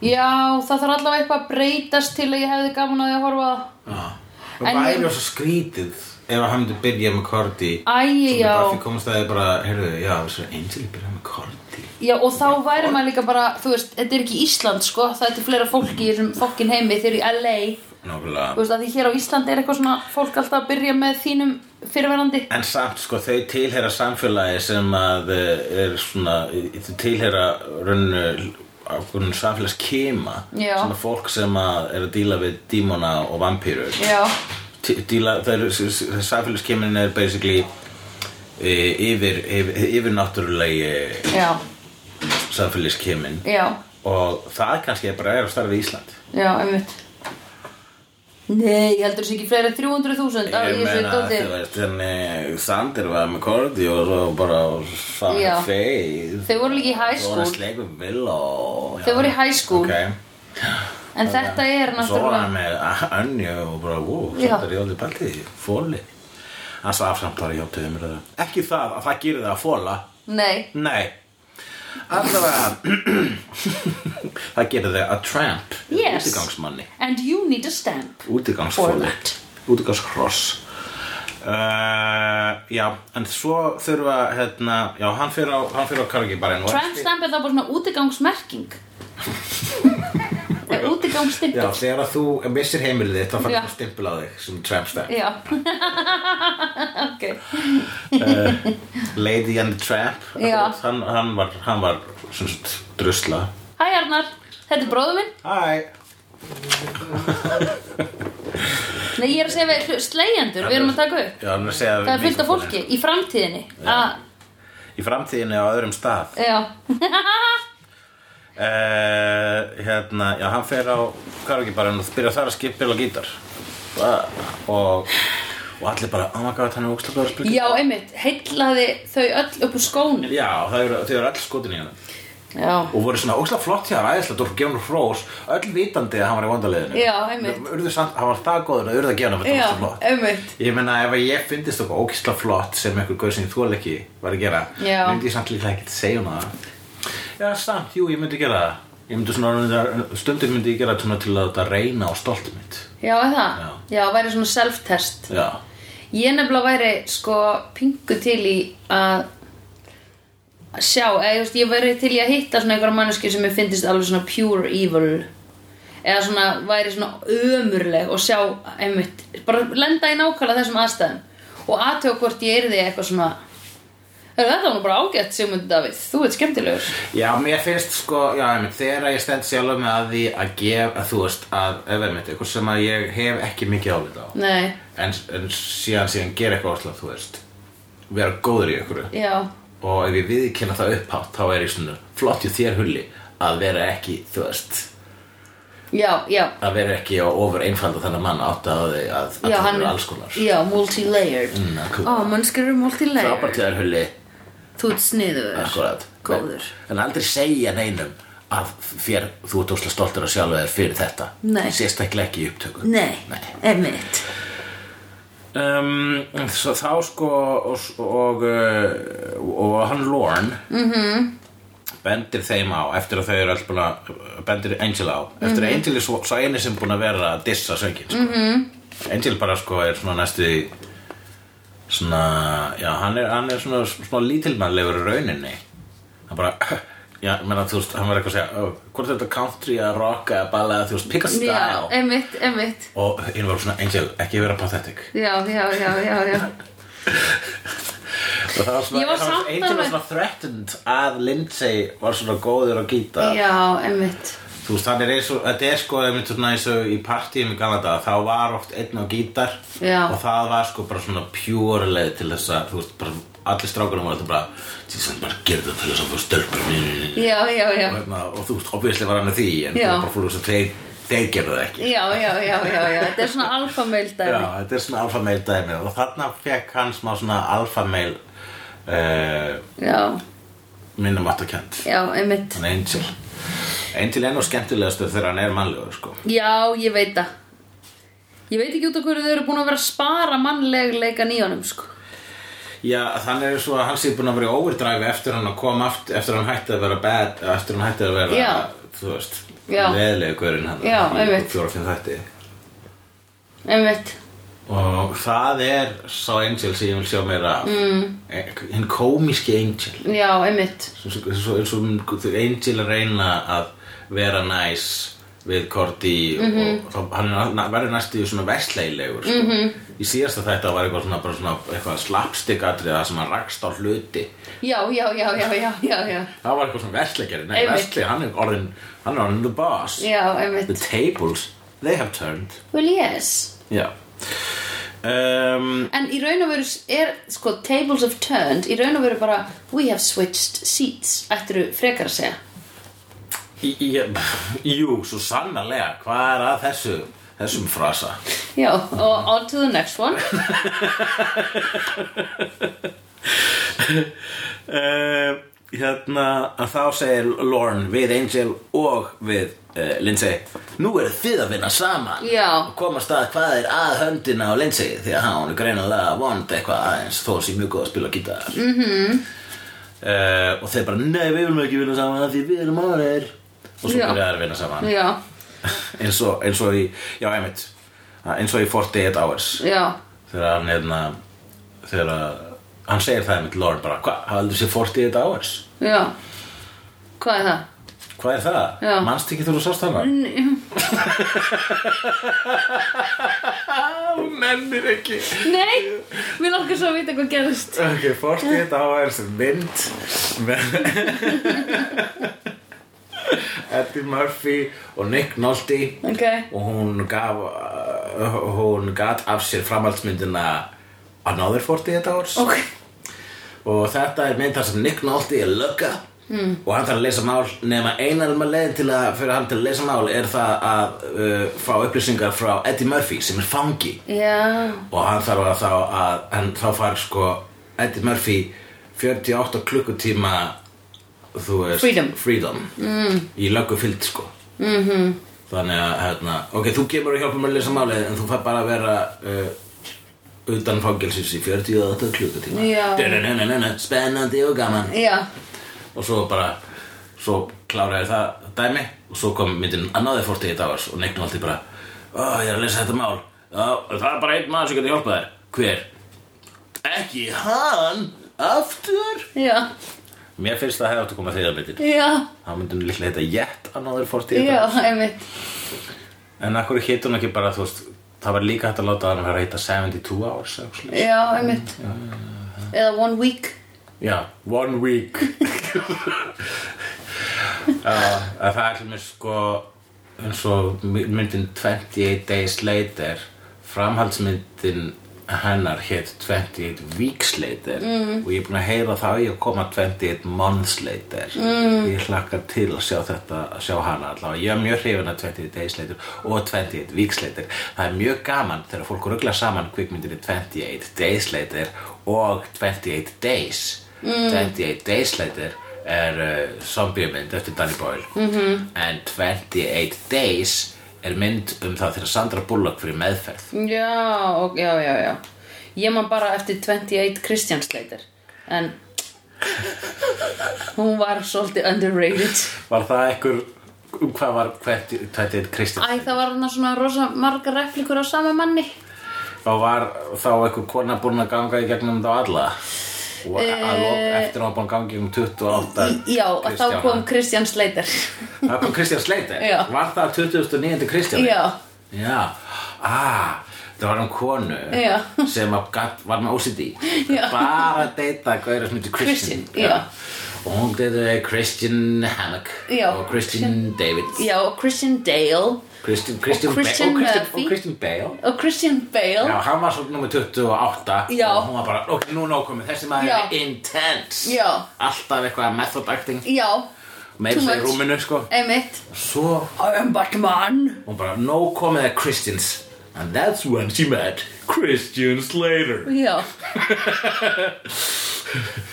[SPEAKER 1] Já, það þarf allavega eitthvað að breytast til að ég hefði gaman að því að horfa á það.
[SPEAKER 2] Það
[SPEAKER 1] En
[SPEAKER 2] væri
[SPEAKER 1] ég-
[SPEAKER 2] ég... svo skrítið ef að hann myndi byrja með Korti
[SPEAKER 1] Æi,
[SPEAKER 2] Svo Buffy
[SPEAKER 1] já.
[SPEAKER 2] komast að þið bara, heyrðu, já, þessu er Angel að byrja með Korti
[SPEAKER 1] Já, og þá væri maður líka bara, þú veist, þetta er ekki Ísland, sko. Það er fleira fólk í þessum fokkin heimi þeir eru í LA. Þú
[SPEAKER 2] Nákvæmlega
[SPEAKER 1] veist, að því hér á Ísland er eitthvað svona fólk alltaf að byrja með þínum fyrirverandi.
[SPEAKER 2] En samt, sko, þau tilheyra samfélagi sem að eh, er svona, eh, þau tilheyra rauninu ákvörnum samfélagskema
[SPEAKER 1] Já.
[SPEAKER 2] Svona fólk sem að er að díla við dímona og vampýrur
[SPEAKER 1] Já,
[SPEAKER 2] T- díla, það eru samfélagskeminin er basically e, yfir, yfir, yfir náttúrulegi
[SPEAKER 1] já,
[SPEAKER 2] samfélagskemin
[SPEAKER 1] já,
[SPEAKER 2] og það kannski bara er að starfa í Ísland
[SPEAKER 1] já, einmitt. Nei, ég heldur þessi ekki fleiri en 300.000 á
[SPEAKER 2] Ég
[SPEAKER 1] þessu
[SPEAKER 2] meina,
[SPEAKER 1] dóti.
[SPEAKER 2] þú veist, henni Sander var með kordi og svo bara fann
[SPEAKER 1] Já.
[SPEAKER 2] feið
[SPEAKER 1] Þau voru líka í high
[SPEAKER 2] Svo var hann
[SPEAKER 1] school.
[SPEAKER 2] sleikur villó
[SPEAKER 1] Þau voru í high school.
[SPEAKER 2] Ok
[SPEAKER 1] En þetta er
[SPEAKER 2] Svo var
[SPEAKER 1] náttúrulega...
[SPEAKER 2] hann með önju og bara Vó,
[SPEAKER 1] Já.
[SPEAKER 2] Sander ég aldrei pælt í því, Fóli Hann sá samt bara hjáttuði mér það Ekki það að það gerir það að fóla
[SPEAKER 1] Nei,
[SPEAKER 2] Nei Allavega Það gerir þau að tramp
[SPEAKER 1] Yes.
[SPEAKER 2] Útigangsmanni
[SPEAKER 1] and you need a stamp.
[SPEAKER 2] útigangsfóli
[SPEAKER 1] Format.
[SPEAKER 2] útigangshross uh, já, en svo þurfa hérna, já, hann fyrir á, hann fyrir á kargi bara enn
[SPEAKER 1] Tramp stamp er þá bara svona útigangsmerking. Er útigangsstimpil.
[SPEAKER 2] já, þegar að þú missir heimilið þitt þá
[SPEAKER 1] Já.
[SPEAKER 2] fannst þú stimpil á þig sem tramp stamp
[SPEAKER 1] Já. ok.
[SPEAKER 2] Lady and the Tramp
[SPEAKER 1] Já.
[SPEAKER 2] hann, hann var, hann var sem sagt, drusla
[SPEAKER 1] Hæ Arnar, þetta er bróður minn.
[SPEAKER 2] Hæ
[SPEAKER 1] Nei, ég er að segja við hlu- slegjendur, við erum að taka upp.
[SPEAKER 2] Já, hann er að segja
[SPEAKER 1] Það er fullt af fólki í framtíðinni. Að,
[SPEAKER 2] Í framtíðinni á öðrum stað
[SPEAKER 1] já.
[SPEAKER 2] Eh, hérna, já, hann fer á karaokebarinn og byrjar þar að skipila gítar og, og allir bara, oh my god, hann er ógstlega góður að spila gítar
[SPEAKER 1] já, einmitt, heillaði þau öll upp úr skónum.
[SPEAKER 2] Já, þau eru, þau eru öll skotin í hann
[SPEAKER 1] Já.
[SPEAKER 2] og voru svona ógstlega flott hjá hann, æðislega, þú gefur hann hrós öll vitandi að hann var í vandaliðinu
[SPEAKER 1] Já, einmitt.
[SPEAKER 2] Urðu samt, hann var það góður að urðu að gefa hann þetta
[SPEAKER 1] Já,
[SPEAKER 2] var svo flott
[SPEAKER 1] einmitt.
[SPEAKER 2] Ég meina, ef ég fyndist okkur ógstlega flott sem einhver gauð sem ég þól ekki var að gera
[SPEAKER 1] Já.
[SPEAKER 2] myndi ég samt líka ekkert segja hún það Já, samt, jú, ég myndi gera það Ég myndi svona, stundum myndi ég gera það svona til að þetta reyna á stolt mitt
[SPEAKER 1] Já, er það?
[SPEAKER 2] Já.
[SPEAKER 1] já væri svona self-test.
[SPEAKER 2] Já,
[SPEAKER 1] Ég nefnilega væri sko pingu til í að að sjá, eða ég veist, ég væri til í að hitta svona einhverja manneski sem ég finnist alveg svona pure evil eða svona væri svona ömurleg og sjá einmitt, bara lenda í nákvæmlega þessum aðstæðum og aðtöga hvort ég yrði eitthvað svona "Heyrðu, Þetta var nú bara ágætt, Sigmund Davíð, þú ert skemmtilegur
[SPEAKER 2] já, mér finnst sko, já, einmitt, þegar ég stend sjálf með að því að gef, að þú veist, að, ef einmitt, eitthvað sem að ég hef ekki mikið álið á
[SPEAKER 1] Nei,
[SPEAKER 2] en, en síðan, síðan gera eitthvað áslag, þú veist vera góður í einhverju
[SPEAKER 1] já,
[SPEAKER 2] og ef ég viðkenna það upphátt þá er ég svona flott í þér hulli að vera ekki, þú veist
[SPEAKER 1] já, já
[SPEAKER 2] að vera ekki að ofur einfalda þennan mann átt að þau að, að
[SPEAKER 1] Já,
[SPEAKER 2] það
[SPEAKER 1] hann
[SPEAKER 2] eru alls konar
[SPEAKER 1] Já, multi-layered
[SPEAKER 2] Mm, akkurat.
[SPEAKER 1] Ó, mannskir eru multi-layered
[SPEAKER 2] frábært í þær hulli,
[SPEAKER 1] Þú ert sniður
[SPEAKER 2] akkurat
[SPEAKER 1] Góður
[SPEAKER 2] en aldrei segja neinum að fér, þú ert óslega stoltur að sjálfa þér fyrir þetta
[SPEAKER 1] Nei.
[SPEAKER 2] sérstaklega ekki í upptöku
[SPEAKER 1] Nei,
[SPEAKER 2] Nei.
[SPEAKER 1] emitt
[SPEAKER 2] Um, svo þá sko og, og, uh, og hann Lorne -hmm. bendir þeim á eftir að þau eru alls búin að bendir Angel á, eftir að Angel er svo, svo eini sem búin að vera að dissa söngin sko. mm -hmm. Angel bara sko er svona næstu því svona, já hann er, hann er svona, svona lítilmannlegur í rauninni hann bara Já, menna, þú veist, hann verður eitthvað að segja "Ó, Hvort er þetta country að rocka að balla Þú veist, pick a style
[SPEAKER 1] Já, eh emitt, emitt
[SPEAKER 2] Og hinn var svona, Angel, ekki vera pathetic
[SPEAKER 1] Já, já, já, já, já
[SPEAKER 2] Og það var svona,
[SPEAKER 1] Ég var
[SPEAKER 2] það
[SPEAKER 1] samt
[SPEAKER 2] Angel var
[SPEAKER 1] alveg-
[SPEAKER 2] svona threatened að Lindsay var svona góður að gíta
[SPEAKER 1] Já, emitt
[SPEAKER 2] Þú veist, hann er eins og, þetta er sko einmitt svona eins og í partíum í Galanda þá var oft einn á gítar
[SPEAKER 1] Já.
[SPEAKER 2] og það var sko bara svona pure leið til þess að, þú veist, bara allir strákurum var þetta bara, þú veist, bara gerðu það til þess að þú stölpur mér
[SPEAKER 1] Já, já,
[SPEAKER 2] og,
[SPEAKER 1] já
[SPEAKER 2] hérna, og þú veist, obviously var hann að því en
[SPEAKER 1] Já.
[SPEAKER 2] það var bara fólk sem þeir, þeir gerðu það ekki
[SPEAKER 1] Já, já, já, já, já Þetta er svona alfameil
[SPEAKER 2] Já,
[SPEAKER 1] dæmi
[SPEAKER 2] þetta er svona alfameil dæmi og þarna fekk hann smá svona alfameil uh,
[SPEAKER 1] Já,
[SPEAKER 2] minnum áttakjönd
[SPEAKER 1] já, emitt
[SPEAKER 2] Hann er Angel Angel er nú skemmtilegastur þegar hann er mannlegur sko.
[SPEAKER 1] Já, ég veit það Ég veit ekki út af hverju þau eru búin að vera að spara mannlegleikan í honum, sko
[SPEAKER 2] Já, þannig er svo að hann sé búin að vera í overdrive eftir hann að koma aftur eftir hann hætti að vera bad eftir hann hætti að vera,
[SPEAKER 1] Já.
[SPEAKER 2] þú veist
[SPEAKER 1] Já.
[SPEAKER 2] leðilegu hverjum hann
[SPEAKER 1] Já, einmitt.
[SPEAKER 2] fjóra finn þætti
[SPEAKER 1] Emitt
[SPEAKER 2] og það er sá Angel sem ég vil sjá meira af mm. hinn komiski Angel
[SPEAKER 1] Já, emitt
[SPEAKER 2] Svo- svo- svo- svo- Angel að reyna að vera næs við Korti og,
[SPEAKER 1] Mhm.
[SPEAKER 2] og þá- hann er na- verður næstu í svona versleilegur sko. -hmm. í síðasta þetta var eitthvað svona, bara svona eitthvað slapstick atrið sem hann rakst á hluti
[SPEAKER 1] Já, já, já, já, já, já, já
[SPEAKER 2] það var eitthvað svona versleikari nei,
[SPEAKER 1] Einmitt.
[SPEAKER 2] versli, hann er orðin hann er orðin the boss
[SPEAKER 1] Já,
[SPEAKER 2] the
[SPEAKER 1] emitt
[SPEAKER 2] tables, they have turned
[SPEAKER 1] Well, yes
[SPEAKER 2] já um,
[SPEAKER 1] En í raun og veru er, sko, tables have turned, í raun og veru bara, we have switched seats, ættir þú frekar að segja.
[SPEAKER 2] í, í, jú, svo sannarlega hvað er að þessu þessum frasa
[SPEAKER 1] Já, og on to the next one
[SPEAKER 2] uh, hérna að þá segir Lorne við Angel og við uh, Lindsay nú eru þið að vinna saman
[SPEAKER 1] Já.
[SPEAKER 2] og komast að hvað er að höndina á Lindsay því að hún er greinilega vond eitthvað aðeins þó sé mjög góð að spila gítar mm
[SPEAKER 1] Mhm.
[SPEAKER 2] og þeir bara nei við viljum ekki vinna saman af því við erum ánir og svo
[SPEAKER 1] Já.
[SPEAKER 2] byrjaði að vinna saman
[SPEAKER 1] Já,
[SPEAKER 2] eins, og, eins og í já einmitt Ah, eins og í 48 hours
[SPEAKER 1] já,
[SPEAKER 2] þegar hann hérna þegar að- hann segir það einmitt Lorne bara hvað, hafði aldrei séð 48 hours
[SPEAKER 1] já Hvað er það?
[SPEAKER 2] hvað er það?
[SPEAKER 1] Já.
[SPEAKER 2] manst ekki þegar þú sást hana? hún nennir ekki
[SPEAKER 1] Nei, mér langar svo að vita hvað gerist
[SPEAKER 2] ok, 48 hours mynd með Eddie Murphy og Nick Nolte
[SPEAKER 1] Ok,
[SPEAKER 2] og hún gaf uh, hún gat af sér framhaldsmyndina Another 48 Hours
[SPEAKER 1] ok
[SPEAKER 2] og þetta er mynd þar sem Nick Nolte er lögga mm. og hann þarf að leysa mál nema einalma leiðin til að fyrir hann til að leysa mál er það að uh, fá upplýsingar frá Eddie Murphy sem er fangi
[SPEAKER 1] Já,
[SPEAKER 2] og hann þarf að þá að en þá far sko Eddie Murphy 48 klukkutíma þú veist
[SPEAKER 1] Freedom.
[SPEAKER 2] mm. í löggu fyllt sko mm
[SPEAKER 1] Mhm.
[SPEAKER 2] -hmm. þannig að hérna, ok, þú kemur og hjálpar mér að leysa málið en þú fær bara að vera uh, utan fangelsins í 48 klukkutíma
[SPEAKER 1] Já.
[SPEAKER 2] Dun-dun-dun-dun-dun, spennandi og gaman
[SPEAKER 1] já,
[SPEAKER 2] og svo bara svo kláraði það dæmi og svo kom myndin annaði 48 hours og neiknum alltaf bara Ó, ég er að lesa þetta mál Ó, það er bara einn maður sem getur hjálpað þér hver? ekki hann aftur
[SPEAKER 1] já,
[SPEAKER 2] mér finnst það hefði átt að koma þeirra myndin
[SPEAKER 1] já
[SPEAKER 2] það myndi hún líklega heita Yet annaði 48
[SPEAKER 1] Já,
[SPEAKER 2] hours
[SPEAKER 1] einmitt
[SPEAKER 2] en akkur hitt hún ekki bara þú veist það var líka hægt að láta hann vera að heita 72 hours eða eitthvað svoleiðis.
[SPEAKER 1] Já, einmitt Eða one week
[SPEAKER 2] Já, one week uh, að Það er mér sko eins og my- myndin 28 days later framhaldsmyndin hennar hétt 28 weeks later mm. og ég er búin að heyra það í að koma 28 months later mm. ég hlakka til að sjá þetta að sjá hana allavega, ég er mjög hrifin að 28 days later og 28 weeks later það er mjög gaman þegar fólk ruggla saman kvikmyndinni 28 days later og 28 days Mm. 28 days later er uh, zombiemynd eftir Danny Boyle
[SPEAKER 1] Mhm.
[SPEAKER 2] -hmm. en 28 days er mynd um það þegar Sandra Bullock fyrir meðferð
[SPEAKER 1] Já, og, já, já, já Ég man bara eftir 28 Christian Slater En Hún var svolítið underrated
[SPEAKER 2] Var það einhver, um hvað var 28 Kristján?
[SPEAKER 1] Æ, það var hann svona rosa margar replikur á sama manni
[SPEAKER 2] Þá var þá einhver kona búin að ganga í gegnum þá alla og að lok, eftir að hún var búin að ganga í um 28
[SPEAKER 1] Eh, Já, og þá
[SPEAKER 2] Kristjána.
[SPEAKER 1] kom Christian Slater
[SPEAKER 2] Það kom Kristján Sleiter
[SPEAKER 1] Já.
[SPEAKER 2] Var það 2009. Kristján?
[SPEAKER 1] Já,
[SPEAKER 2] Já, ah, það var um konu
[SPEAKER 1] Já.
[SPEAKER 2] sem að gat, var með OCD
[SPEAKER 1] Já.
[SPEAKER 2] bara að deyta gauðra sem heitir Christian,
[SPEAKER 1] Christian, já.
[SPEAKER 2] og hún deytaði Christian Hammock
[SPEAKER 1] Já.
[SPEAKER 2] og Christian David
[SPEAKER 1] já, og Christian Dale
[SPEAKER 2] Christian, Christian, Ba-
[SPEAKER 1] Christian uh,
[SPEAKER 2] og Christian,
[SPEAKER 1] Murphy.
[SPEAKER 2] og Christian Bale
[SPEAKER 1] og Christian Bale
[SPEAKER 2] Já, hann var svolítið nummer 28
[SPEAKER 1] Já.
[SPEAKER 2] og hún var bara, ok, nú er nóg komið, þessi maður
[SPEAKER 1] Já.
[SPEAKER 2] er intense
[SPEAKER 1] Já.
[SPEAKER 2] Alltaf eitthvað method acting,
[SPEAKER 1] Já,
[SPEAKER 2] meir
[SPEAKER 1] Too
[SPEAKER 2] sér í
[SPEAKER 1] much.
[SPEAKER 2] rúminu, sko
[SPEAKER 1] einmitt
[SPEAKER 2] Svo,
[SPEAKER 1] I am Batman
[SPEAKER 2] hún bara, nóg komið er Christians And that's when she met Christian Slater
[SPEAKER 1] Já,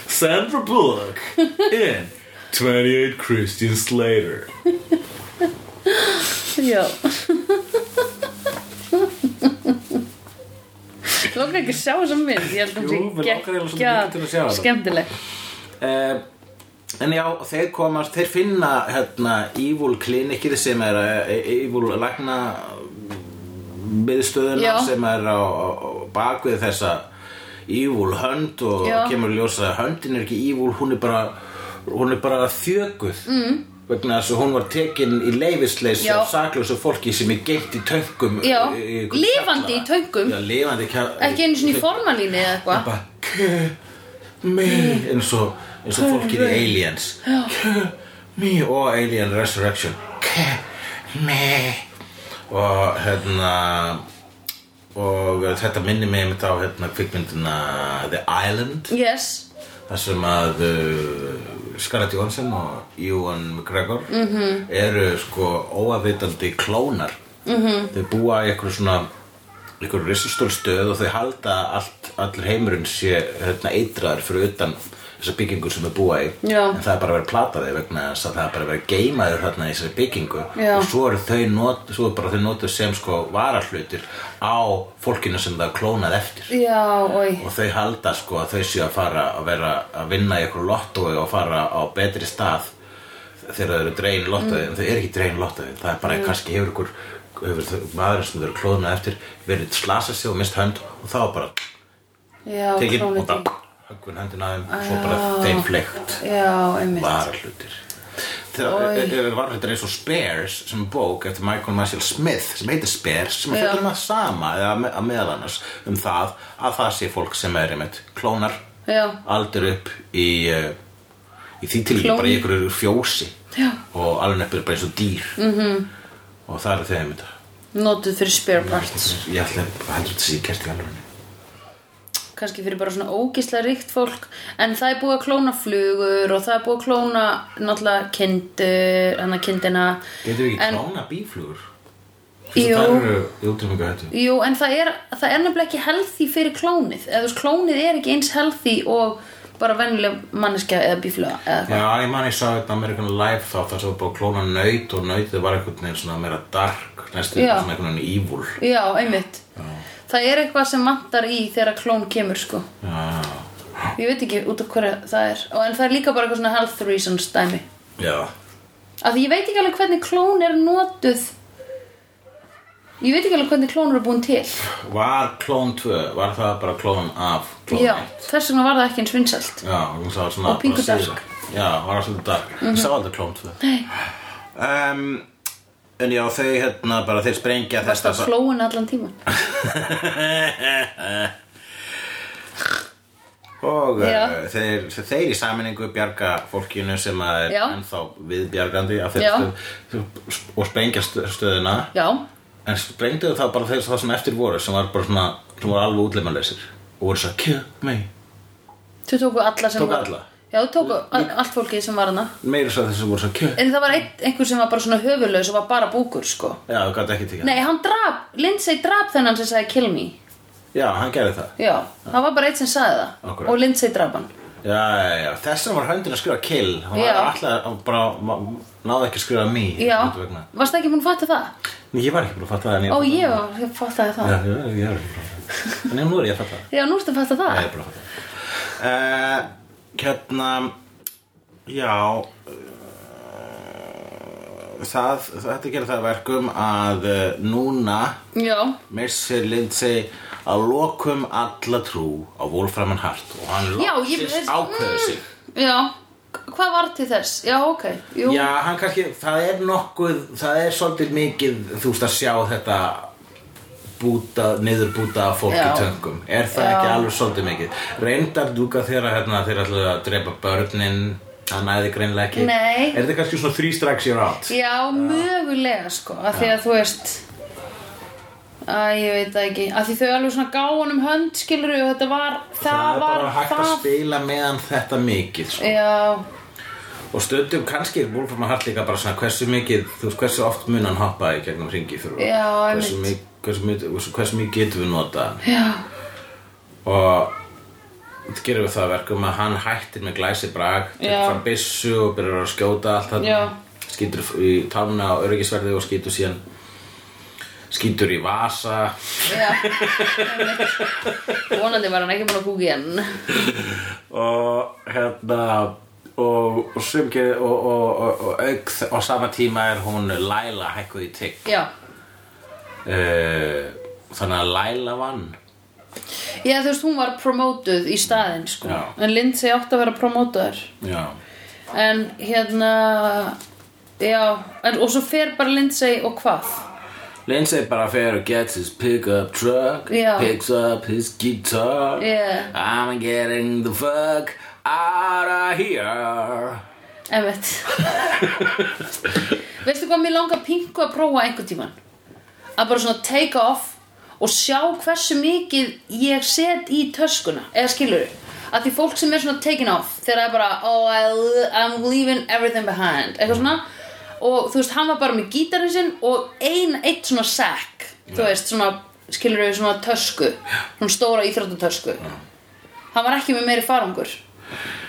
[SPEAKER 2] Sandra Bullock in 28 Christian Slater
[SPEAKER 1] já Lókar ekki að sjá þessa mynd Ég held að
[SPEAKER 2] Jú,
[SPEAKER 1] hún
[SPEAKER 2] mig
[SPEAKER 1] sé
[SPEAKER 2] langar
[SPEAKER 1] geggjað
[SPEAKER 2] eiginlega svo mikið til að sjá hana.
[SPEAKER 1] Skemmtileg
[SPEAKER 2] uh, En já, þeir komast, þeir finna hérna evil klinikið sem er eh, evil lagna miðstöðuna
[SPEAKER 1] Já.
[SPEAKER 2] sem er á, á á bak við þessa evil hönd og
[SPEAKER 1] Já.
[SPEAKER 2] kemur ljósa að höndin er ekki evil, hún er bara hún er bara þjöguð mm. vegna þess að hún var tekin í leifisleis
[SPEAKER 1] Já.
[SPEAKER 2] og saklausu fólki sem er geimt í töngum
[SPEAKER 1] Já.
[SPEAKER 2] í- í-
[SPEAKER 1] Lifandi í töngum.
[SPEAKER 2] Já, lifandi
[SPEAKER 1] Ekki einu sinni í formalínu eða eitthvað
[SPEAKER 2] bara me eins og, eins og fólkið í Aliens me og Alien Resurrection me og hérna og þetta minnir mig einmitt á hérna kvikmyndina The Island
[SPEAKER 1] Yes,
[SPEAKER 2] þar sem að uh, Scarlett
[SPEAKER 1] Mhm.
[SPEAKER 2] Johansson og Ewan McGregor -hmm. eru sko óafvitandi klónar
[SPEAKER 1] Mhm.
[SPEAKER 2] -hmm. þau búa í eitthvað svona eitthvað risastólstöð og þau halda að allt, allir heimurinn sé hérna, eitraður fyrir utan þessar byggingu sem þau búa í
[SPEAKER 1] Já.
[SPEAKER 2] en það er bara verið að plata þau vegna þess að það er bara verið að geima þau þarna í þessari byggingu
[SPEAKER 1] Já.
[SPEAKER 2] og svo eru þau not, svo er bara þau notuð sem sko varahlutir á fólkinu sem það er klónað eftir
[SPEAKER 1] já, oi
[SPEAKER 2] og þau halda sko að þau séu að fara að vera að vinna í eitthvað lottói og fara á betri stað þegar þau eru dregin lottói en þau eru ekki dregin lottói það er bara kannski hefur ykkur hefur þau- maðurinn sem þau eru klóðuna eftir verið slasa sig og mist hönd og þá bara
[SPEAKER 1] já,
[SPEAKER 2] tekinn og
[SPEAKER 1] krónutí.
[SPEAKER 2] bara höggvin höndin að þeim og svo bara þeim fleikt
[SPEAKER 1] já, einmitt
[SPEAKER 2] varahlutir
[SPEAKER 1] Oj.
[SPEAKER 2] þegar e- varahlutir eins og Spares sem er bók eftir Michael Marshall Smith sem heitir Spares sem er fjöldum að sama eða að me- að meðal annars um það að það sé fólk sem er einmitt klónar
[SPEAKER 1] Já.
[SPEAKER 2] aldur upp í eh, í því til
[SPEAKER 1] Klón.
[SPEAKER 2] bara í ykkur fjósi
[SPEAKER 1] Já.
[SPEAKER 2] og alveg upp er bara eins og dýr -hmm.
[SPEAKER 1] Mhm.
[SPEAKER 2] og það eru þau einmitt
[SPEAKER 1] notuð fyrir spare parts
[SPEAKER 2] ég ætla að heldur þetta sé gert í alveg
[SPEAKER 1] kannski fyrir bara svona ógislega ríkt fólk en það er búið að klóna flugur og það er búið að klóna náttúrulega kindur, hann að kindina
[SPEAKER 2] getur við ekki
[SPEAKER 1] En-
[SPEAKER 2] klóna bíflugur?
[SPEAKER 1] Jú.
[SPEAKER 2] það eru í útrýmingu hættu
[SPEAKER 1] Jú, en það er, það er nefnilega ekki healthy fyrir klónið eða þú veist, klónið er ekki eins healthy og bara venjuleg manneskja eða bífluga eða eitthvað.
[SPEAKER 2] Já, ég man ég sá þetta American Life þá þar sem var búið að klóna nöyt og nöytið var einhvern veginn svona meira dark næstu
[SPEAKER 1] Já.
[SPEAKER 2] svona einhvern veginn evil
[SPEAKER 1] Já, einmitt Það er eitthvað sem vantar í þegar klón kemur sko.
[SPEAKER 2] Já,
[SPEAKER 1] Ég veit ekki út af hverja það er og, En það er líka bara eitthvað svona health reasons dæmi
[SPEAKER 2] já
[SPEAKER 1] Af því ég veit ekki alveg hvernig klón er notuð Ég veit ekki alveg hvernig klón eru búin til
[SPEAKER 2] Var klón 2, var það bara klón af klón
[SPEAKER 1] Já,
[SPEAKER 2] 1?
[SPEAKER 1] þess vegna var það ekki eins vinsælt
[SPEAKER 2] Já, hún sá svona
[SPEAKER 1] Og pingu
[SPEAKER 2] bara síðar.
[SPEAKER 1] dark.
[SPEAKER 2] Já, var svona dark Ég sá aldrei klón 2
[SPEAKER 1] Nei.
[SPEAKER 2] um, En já, þau hérna bara þeir sprengja þetta
[SPEAKER 1] Það slóin allan tíman
[SPEAKER 2] Og
[SPEAKER 1] Já.
[SPEAKER 2] uh, þeir, þeir í saminningu bjarga fólkinu sem að er
[SPEAKER 1] Já.
[SPEAKER 2] ennþá viðbjargandi af
[SPEAKER 1] Já.
[SPEAKER 2] þeir stöð, og sprengja stö- stöðina
[SPEAKER 1] Já,
[SPEAKER 2] En sprengduðu það bara þeir það sem eftir voru sem var bara svona, sem voru alveg útleimaleysir og voru svo að kill me
[SPEAKER 1] þau tóku alla sem
[SPEAKER 2] Tóku
[SPEAKER 1] var-
[SPEAKER 2] alla?
[SPEAKER 1] Já, þau tóku all- allt fólkið sem var hana
[SPEAKER 2] meira svo þess að voru svo að kill
[SPEAKER 1] En það var ein, einhver sem var bara svona höfulegs og var bara búkur sko
[SPEAKER 2] Já, það gæti ekki tekið
[SPEAKER 1] Nei, hann drap, Lindsay drap þennan sem sagði kill me
[SPEAKER 2] það Já, hann gerði það
[SPEAKER 1] Já, það var bara eitt sem sagði það
[SPEAKER 2] Akkurat.
[SPEAKER 1] Og Lindsay draf hann
[SPEAKER 2] Já, já, já, þess að var höndin að skrifa kill Hún
[SPEAKER 1] Já.
[SPEAKER 2] var alltaf, hún bara ma- náði ekki að skrifa me
[SPEAKER 1] Já,
[SPEAKER 2] einhvern vegna.
[SPEAKER 1] varst ekki búin að fatta það?
[SPEAKER 2] Nei, Ég var ekki búin að fatta það en ég
[SPEAKER 1] Ó, ég, var- ég fattaði það
[SPEAKER 2] Já, já, ég var ekki búin að fatta það En nú er ég að fatta það
[SPEAKER 1] Já, nú ertu að fatta það
[SPEAKER 2] Nei, bara fatta það. Eh, Hérna Já eh, Það, þetta gerir það að verkum að eh, núna
[SPEAKER 1] Já,
[SPEAKER 2] missir Lindsay að lokum alla trú á Wolfram Hart og hann
[SPEAKER 1] já, ég
[SPEAKER 2] loksist ákveður sig
[SPEAKER 1] Mm, Já, hvað var til þess? Já, ok, jú
[SPEAKER 2] Já, hann kannski, það er nokkuð, það er svolítið mikið, þú veist að sjá þetta búta, niðurbúta fólk
[SPEAKER 1] Já.
[SPEAKER 2] í töngum. Er það
[SPEAKER 1] Já.
[SPEAKER 2] ekki alveg svolítið mikið? Reyndar dúka þeirra hérna, þeir ætlaðu að drepa börnin, það næði greinlega ekki.
[SPEAKER 1] Nei.
[SPEAKER 2] Er þetta kannski svona three strikes you're out?
[SPEAKER 1] Já, mögulega sko að því að þú veist Æ, ég veit það ekki að því þau alveg svona gáðan um hönd skilur og þetta var, það,
[SPEAKER 2] það er
[SPEAKER 1] var
[SPEAKER 2] bara hægt
[SPEAKER 1] það
[SPEAKER 2] að spila meðan þetta mikið, sko.
[SPEAKER 1] Já,
[SPEAKER 2] Og stundum kannski er Wolfram Hart líka bara svona hversu mikið, þú veist, hversu oft mun hann hoppa í gegnum ringi fyrir okkur?
[SPEAKER 1] Já,
[SPEAKER 2] hversu
[SPEAKER 1] einmitt.
[SPEAKER 2] mikið, hversu mikið, hversu mikið getum við notað hann?
[SPEAKER 1] já,
[SPEAKER 2] og það gerum við það að verkum að hann hættir með glæsi brag
[SPEAKER 1] Já.
[SPEAKER 2] tekur fram byssu og byrjar að skjóta allt
[SPEAKER 1] Já.
[SPEAKER 2] þarna, skýtur í tána á öryggisverði og skýtur síðan skýtur í vasa
[SPEAKER 1] já einmitt. Vonandi var hann ekki búin að kúka í henn
[SPEAKER 2] og hérna og, og, sem gerir- og, og, og, og auk þ- á sama tíma er hún Laila hækkuð í tigg
[SPEAKER 1] Já,
[SPEAKER 2] uh, þannig að Laila vann
[SPEAKER 1] já þú veist hún var promótuð í staðinn sko
[SPEAKER 2] Já.
[SPEAKER 1] en Lindsay átti að vera promótuðar
[SPEAKER 2] já,
[SPEAKER 1] en hérna Já, en, og svo fer bara Lindsay og hvað?
[SPEAKER 2] Lindsay bara fer og gets his pickup truck
[SPEAKER 1] Já.
[SPEAKER 2] Picks up his guitar
[SPEAKER 1] Yeah.
[SPEAKER 2] I'm getting the fuck out of here
[SPEAKER 1] Einmitt Veistu hvað mér langar pingu að prófa einhvern tíman Að bara svona take off Og sjá hversu mikið ég set í töskuna Eða skilur Að því fólk sem er svona taking off Þegar það er bara oh, I, I'm leaving everything behind Eitthvað svona og þú veist, hann var bara með gítarinn sinn og ein, eitt svona sack þú veist, svona, skilur við svona tösku svona stóra íþróttatösku hann var ekki með meiri farangur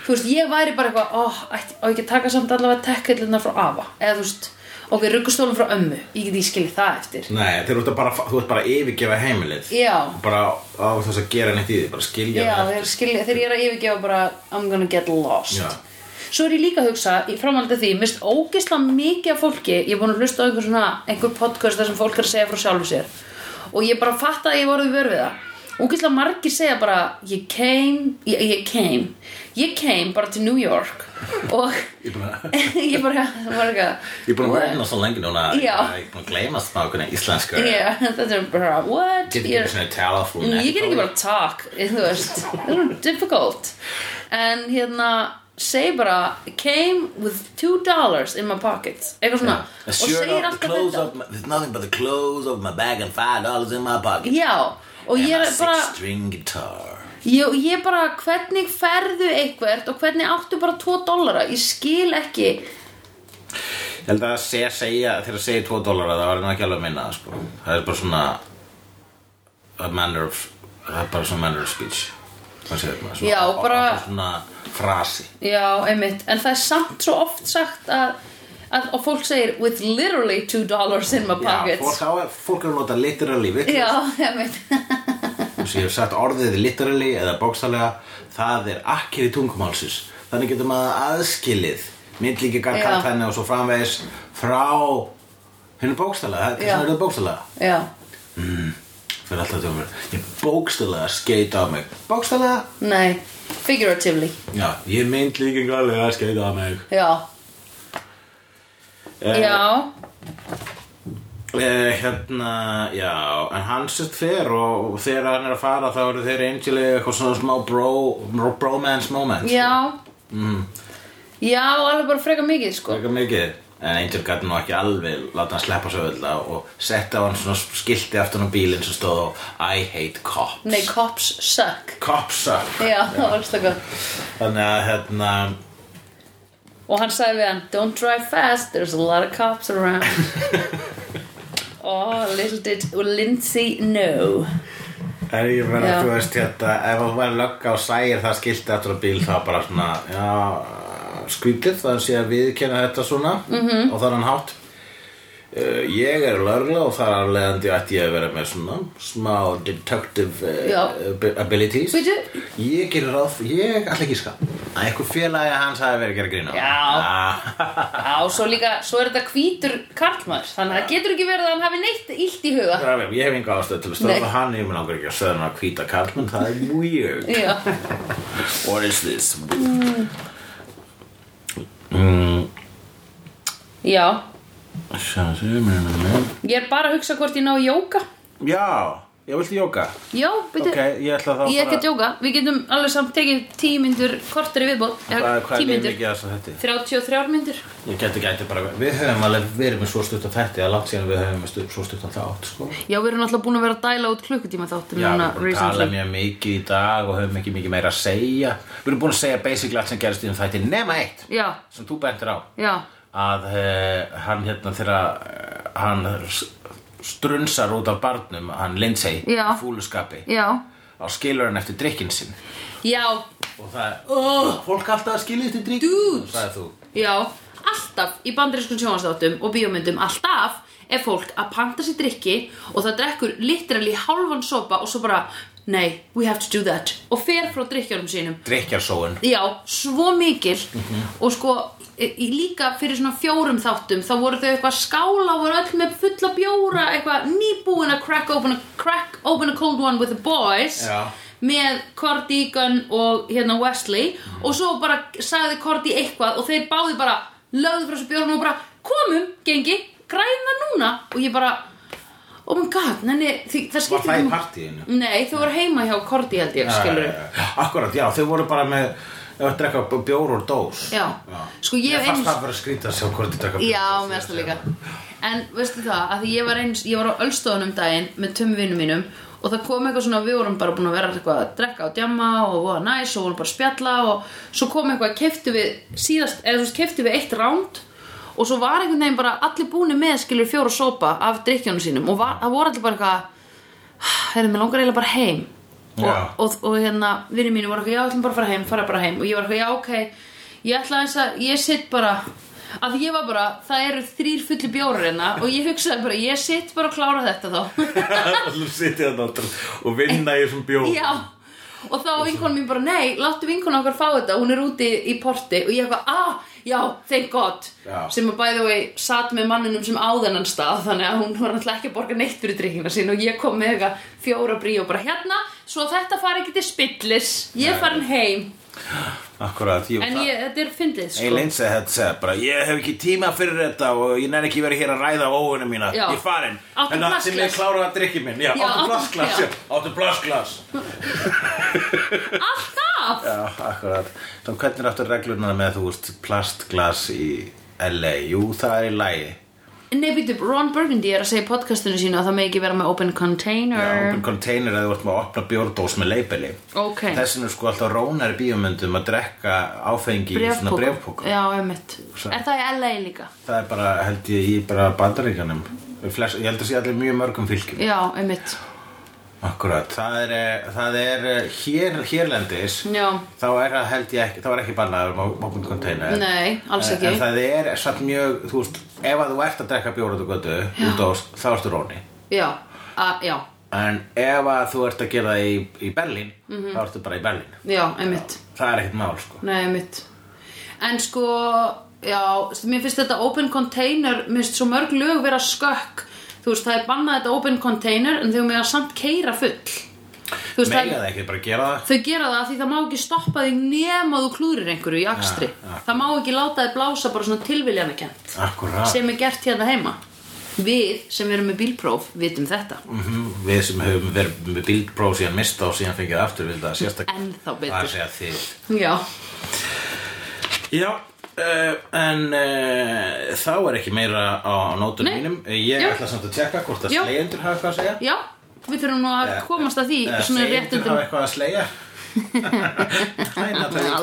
[SPEAKER 1] þú veist, ég væri bara eitthvað ó, ætti, á ekki að taka samt allavega tekkillinnar frá afa eða þú veist, ok, ruggustólum frá ömmu ég geti ég skilið það eftir
[SPEAKER 2] Nei, þeir eru bara, þú ert bara að yfirgefa heimilið
[SPEAKER 1] Já.
[SPEAKER 2] Og Bara á þess að gera neitt í því, bara skilja
[SPEAKER 1] Já,
[SPEAKER 2] það
[SPEAKER 1] þeir, skilja, þeir eru að yfirgefa bara I'm gonna get lost
[SPEAKER 2] Já.
[SPEAKER 1] Svo er ég líka að hugsa, í framhaldið því mist ógisla mikið af fólki ég er búin að hlusta á einhver svona, einhver podcast þar sem fólk er að segja frá sjálfu sér og ég bara fatta að ég voru vör við það ógisla margir segja bara ég came, ég, ég came ég came bara til New York og
[SPEAKER 2] Ég er búin að-
[SPEAKER 1] ég bara, það var eitthvað
[SPEAKER 2] ég er búin að vera hérna svo lengi núna að
[SPEAKER 1] Já.
[SPEAKER 2] Ég er búin að gleyma smákunni íslensku
[SPEAKER 1] yeah, þetta er bara, what
[SPEAKER 2] Get
[SPEAKER 1] Ég er-
[SPEAKER 2] ekki svona tala frú
[SPEAKER 1] Mm, Ég get ekki bara að talk Þú veist, það er difficult En hérna segi bara Came with two dollars in my pocket Eitthvað svona Og segir alltaf þetta
[SPEAKER 2] my, There's nothing but the clothes of my bag and five dollars in my pocket
[SPEAKER 1] Já, og ég er bara
[SPEAKER 2] string guitar
[SPEAKER 1] ég, ég bara, hvernig ferðu eitthvert Og hvernig áttu bara tvo dollara Ég skil ekki
[SPEAKER 2] Ég held að það sé að segja, þegar það segja 2 dólar það var nú ekki alveg að minna það sko Það er bara svona a manner of, það er bara svona manner of speech Hvað segir maður? Svona-
[SPEAKER 1] Já, bara-
[SPEAKER 2] Svona frasi
[SPEAKER 1] Já, einmitt, en það er samt svo oft sagt að, að og fólk segir with literally two dollars in my
[SPEAKER 2] Já,
[SPEAKER 1] pocket
[SPEAKER 2] fólk, á- fólk er að nota literally við
[SPEAKER 1] Já, einmitt
[SPEAKER 2] sem ég hef sagt orðið literally eða bókstallega það er akkir í tungumálsins þannig getum að aðskilið myndlíkingar
[SPEAKER 1] Já.
[SPEAKER 2] kallhenni og svo framvegis frá henni bókstallega, það er
[SPEAKER 1] Já.
[SPEAKER 2] það eru bókstallega
[SPEAKER 1] Já,
[SPEAKER 2] fyrir alltaf til að vera ég bókstallega skeita á mig bókstallega,
[SPEAKER 1] nei, figuratively
[SPEAKER 2] já, ég myndlíkingarlega skeita á mig
[SPEAKER 1] Já,
[SPEAKER 2] Eh,
[SPEAKER 1] já,
[SPEAKER 2] Eh, hérna, já, en hann sett fer og, og þegar hann er að fara þá eru þeir einsilega eitthvað svona smá bro, bromance moments
[SPEAKER 1] já Já, alveg bara freka mikið sko
[SPEAKER 2] Svaka mikið En Angel gæti nú ekki alveg láta hann sleppa svo öll og setta á hann svona skilti aftan á bílinn sem stóð á I hate cops
[SPEAKER 1] Nei, cops suck
[SPEAKER 2] Cops suck
[SPEAKER 1] Já, það var alltaf gott
[SPEAKER 2] Þannig að hérna
[SPEAKER 1] Og hann sagði við hann Don't drive fast, there's a lot of cops around Oh, little did Lindsay know
[SPEAKER 2] Er ég verið
[SPEAKER 1] Já.
[SPEAKER 2] að þú veist hérna Ef þú væri lögga og sæir það skilti aftan á bíl þá bara svona Já skrítið það sé að viðkenna þetta svona
[SPEAKER 1] Mhm.
[SPEAKER 2] -hmm. og það er hann hátt Uh, ég er lörgla og þar af leiðandi ætti ég að vera með svona smá detective
[SPEAKER 1] Já.
[SPEAKER 2] uh, abilities
[SPEAKER 1] Bíddu,
[SPEAKER 2] Ég gerir ráð fyrir, ég ætla ekki ská að einhver félagi hans hafi verið að gera Ah, grína Já
[SPEAKER 1] Já, svo líka, svo er þetta hvítur karlmaður Þannig að það getur ekki verið að hann hafi neitt illt í huga
[SPEAKER 2] Ég hef enga ástöð til að
[SPEAKER 1] Nei.
[SPEAKER 2] stöða hann ég mun langar ekki að stöða hann að hvíta karlmenn það er weird
[SPEAKER 1] Já,
[SPEAKER 2] What is this? Mm.
[SPEAKER 1] já
[SPEAKER 2] Sjá, sjá, mér, mér, mér.
[SPEAKER 1] Ég er bara að hugsa hvort ég ná í jóka
[SPEAKER 2] Já, ég vilti jóka
[SPEAKER 1] Já, byrju
[SPEAKER 2] Ok, ég ætla þá
[SPEAKER 1] Ég er ekki
[SPEAKER 2] bara-
[SPEAKER 1] að djóka, við getum alveg samt tekið tíu myndur kortir í viðbót
[SPEAKER 2] Hvað hvað er
[SPEAKER 1] Tíu
[SPEAKER 2] mér
[SPEAKER 1] myndur,
[SPEAKER 2] mikið að þess að þetta?
[SPEAKER 1] 33 myndur
[SPEAKER 2] Ég geti gæti bara, við höfum alveg verið með svo stutt á þætti að langt síðan við höfum með stu- svo stutt á þátt sko.
[SPEAKER 1] Já, við erum alltaf búin að vera að dæla út klukkutíma þáttum
[SPEAKER 2] Já, við
[SPEAKER 1] núna
[SPEAKER 2] erum búin að tala
[SPEAKER 1] recently
[SPEAKER 2] mjög mikið í dag og höfum ekki mikið meira að segja Við erum búin að segja basically allt sem gerist í um þætti nema eitt
[SPEAKER 1] Já,
[SPEAKER 2] sem þú bentir á
[SPEAKER 1] já,
[SPEAKER 2] að uh, hann hérna þegar uh, hann s- strunsar út af barnum hann Lindsay
[SPEAKER 1] Já.
[SPEAKER 2] í fúluskapi
[SPEAKER 1] já
[SPEAKER 2] á skilur hann eftir drikkinn sinn
[SPEAKER 1] Já,
[SPEAKER 2] og það er oh, fólk alltaf að skilja eftir drikkinn
[SPEAKER 1] Dude.
[SPEAKER 2] sagði þú
[SPEAKER 1] já, alltaf í bandarískum sjónastáttum og bíómyndum alltaf er fólk að panta sér drikki og það drekkur literally hálfan sopa og svo bara Nei, we have to do that og fer frá drikkjónum sínum
[SPEAKER 2] drikkjarsóun
[SPEAKER 1] Já, svo mikil og sko í- í- líka fyrir svona fjórum þáttum þá voru þau eitthvað að skála og voru öll með fulla bjóra eitthvað nýbúin að crack open a, crack open a cold one with the boys
[SPEAKER 2] Já.
[SPEAKER 1] með Cordy, Gunn og hérna Wesley og svo bara sagði Cordy eitthvað og þeir báði bara lögðu frá þessu bjórnum og bara komum, gengi, græðum það núna og ég bara oh my god, nenni, því, það
[SPEAKER 2] Var
[SPEAKER 1] skiptir
[SPEAKER 2] það í
[SPEAKER 1] ekki máli.
[SPEAKER 2] partíinu?
[SPEAKER 1] Nei, þau voru heima hjá Cordy held ég, skilur
[SPEAKER 2] eh, Akkurat, já, þau voru bara með ef að drekka b- bjór úr dós
[SPEAKER 1] Já. Sko, ég hef
[SPEAKER 2] fannst
[SPEAKER 1] einu-
[SPEAKER 2] það bara að skrýta að sjá hvort þið drekka bjór úr
[SPEAKER 1] Já,
[SPEAKER 2] dós.
[SPEAKER 1] mér finnst það líka En veistu það, að því ég var eins Ég var á Ölstofunum daginn með tömvinum mínum Og það kom eitthvað svona, við vorum bara búin að vera eitthvað að drekka og djamma og voða næs og vorum bara að spjalla og svo kom eitthvað, keiftu við síðast, eða þú veist, keiftu við eitt ránd og svo var einhvern veginn bara allir búni með skilur fjóra sopa af drikkjónu sínum og var, það voru allir bara eitthvað herrðu, mér langar eiginlega bara heim og,
[SPEAKER 2] Já.
[SPEAKER 1] og, og, hérna, vinni mínu voru eitthvað, já, ætlum bara að fara heim, fara bara heim og ég var eitthvað, já, ok ég ætla eins að, ég sitt bara að því ég var bara, það eru þrýr fulli bjórar hérna og ég hugsaði bara, ég sitt bara að klára þetta þá
[SPEAKER 2] Þú sitja þarna og- og vinna í þessum bjóð
[SPEAKER 1] Já, og þá vinkona mín bara, nei, láttu vinkona okkar fá þetta, hún er úti í porti og ég eitthvað, ah, já, thank god
[SPEAKER 2] Já.
[SPEAKER 1] sem að bæði og satt með manninum sem á þennan stað, þannig að hún var náttúrulega ekki að borga neitt fyrir drikkina sín og ég kom með eitthvað fjóra brí og bara hérna svo þetta fari ekki til spillis ég er farin heim,
[SPEAKER 2] Akkurat, jú,
[SPEAKER 1] en
[SPEAKER 2] það-
[SPEAKER 1] ég, þetta er fyndið, sko
[SPEAKER 2] Eilin segi þetta segja bara Ég hef ekki tíma fyrir þetta og ég nenni ekki verið hér að ræða óunum mína
[SPEAKER 1] Já.
[SPEAKER 2] Ég er farin
[SPEAKER 1] Áttu
[SPEAKER 2] En það sem ég
[SPEAKER 1] plastglas?
[SPEAKER 2] klára að drikki minn Já,
[SPEAKER 1] Já,
[SPEAKER 2] áttu
[SPEAKER 1] áttu-
[SPEAKER 2] blasklas
[SPEAKER 1] já.
[SPEAKER 2] Áttu blasklas
[SPEAKER 1] Ah, Alltaf!
[SPEAKER 2] Já, akkurat Þá hvernig áttu reglurnar með þú veist plastglas í LA Jú, það er í lagi
[SPEAKER 1] Nei, býttu, Ron Burgundy er að segja í podcastinu sínu að það megi ekki vera með open
[SPEAKER 2] Já,
[SPEAKER 1] container
[SPEAKER 2] open container að þú ert með að opna bjórdós með leipili
[SPEAKER 1] Ok.
[SPEAKER 2] Þessin er sko alltaf rónar í bíómyndum að drekka áfengi í svona brefpóka
[SPEAKER 1] Já, einmitt Er það í LA líka?
[SPEAKER 2] Það er bara, held ég, í bara bandaríkjanum Flest, Ég held að sé allir í mjög mörgum fylgjum
[SPEAKER 1] Já, einmitt
[SPEAKER 2] Akkurat, það er, eh, það er eh, hér, hérlendis
[SPEAKER 1] Já.
[SPEAKER 2] þá er það held ég ekki, það var ekki bannaður mókund container
[SPEAKER 1] Nei, alls
[SPEAKER 2] En-
[SPEAKER 1] ekki
[SPEAKER 2] En það er satt mjög, þú veist, ef að þú ert að drekka bjóra þú götu út á, þá ertu róni
[SPEAKER 1] Já, a, já,
[SPEAKER 2] En ef að þú ert að gera það í, í Berlín,
[SPEAKER 1] Mhm.
[SPEAKER 2] þá ertu bara í Berlín
[SPEAKER 1] já, einmitt
[SPEAKER 2] Það er ekkert mál, sko
[SPEAKER 1] Nei, einmitt En sko, já, mér finnst þetta open container Mér finnst svo mörg lög vera skökk Þú veist, það er bannað þetta open container En þau mega samt keira full Þú veist,
[SPEAKER 2] Mega
[SPEAKER 1] það,
[SPEAKER 2] það ekki, bara gera það
[SPEAKER 1] þau gera það af því það má ekki stoppa þig nema þú klúrir einhverju í akstri
[SPEAKER 2] Ja, ja.
[SPEAKER 1] Það má ekki láta þig blása bara svona tilviljanakent
[SPEAKER 2] Akkurat,
[SPEAKER 1] Sem er gert hérna heima Við sem erum með bílpróf vitum þetta
[SPEAKER 2] Mhm, við sem höfum verið með bílpróf síðan mista og síðan fengið aftur við það sérstaklega
[SPEAKER 1] En þá
[SPEAKER 2] Það er að
[SPEAKER 1] betur
[SPEAKER 2] segja þið
[SPEAKER 1] Já,
[SPEAKER 2] Já, uh, en uh, þá er ekki meira á nótunum
[SPEAKER 1] Nei.
[SPEAKER 2] mínum Eh, Ég
[SPEAKER 1] Já.
[SPEAKER 2] ætla samt að tjekka hvort að
[SPEAKER 1] Já.
[SPEAKER 2] slegjendur hafa eitthvað að segja
[SPEAKER 1] já, við þurfum nú
[SPEAKER 2] Eh,
[SPEAKER 1] að komast að því
[SPEAKER 2] Eða
[SPEAKER 1] svona
[SPEAKER 2] segjendur
[SPEAKER 1] rétt undir
[SPEAKER 2] hafa eitthvað að slegja Hæ, Natalie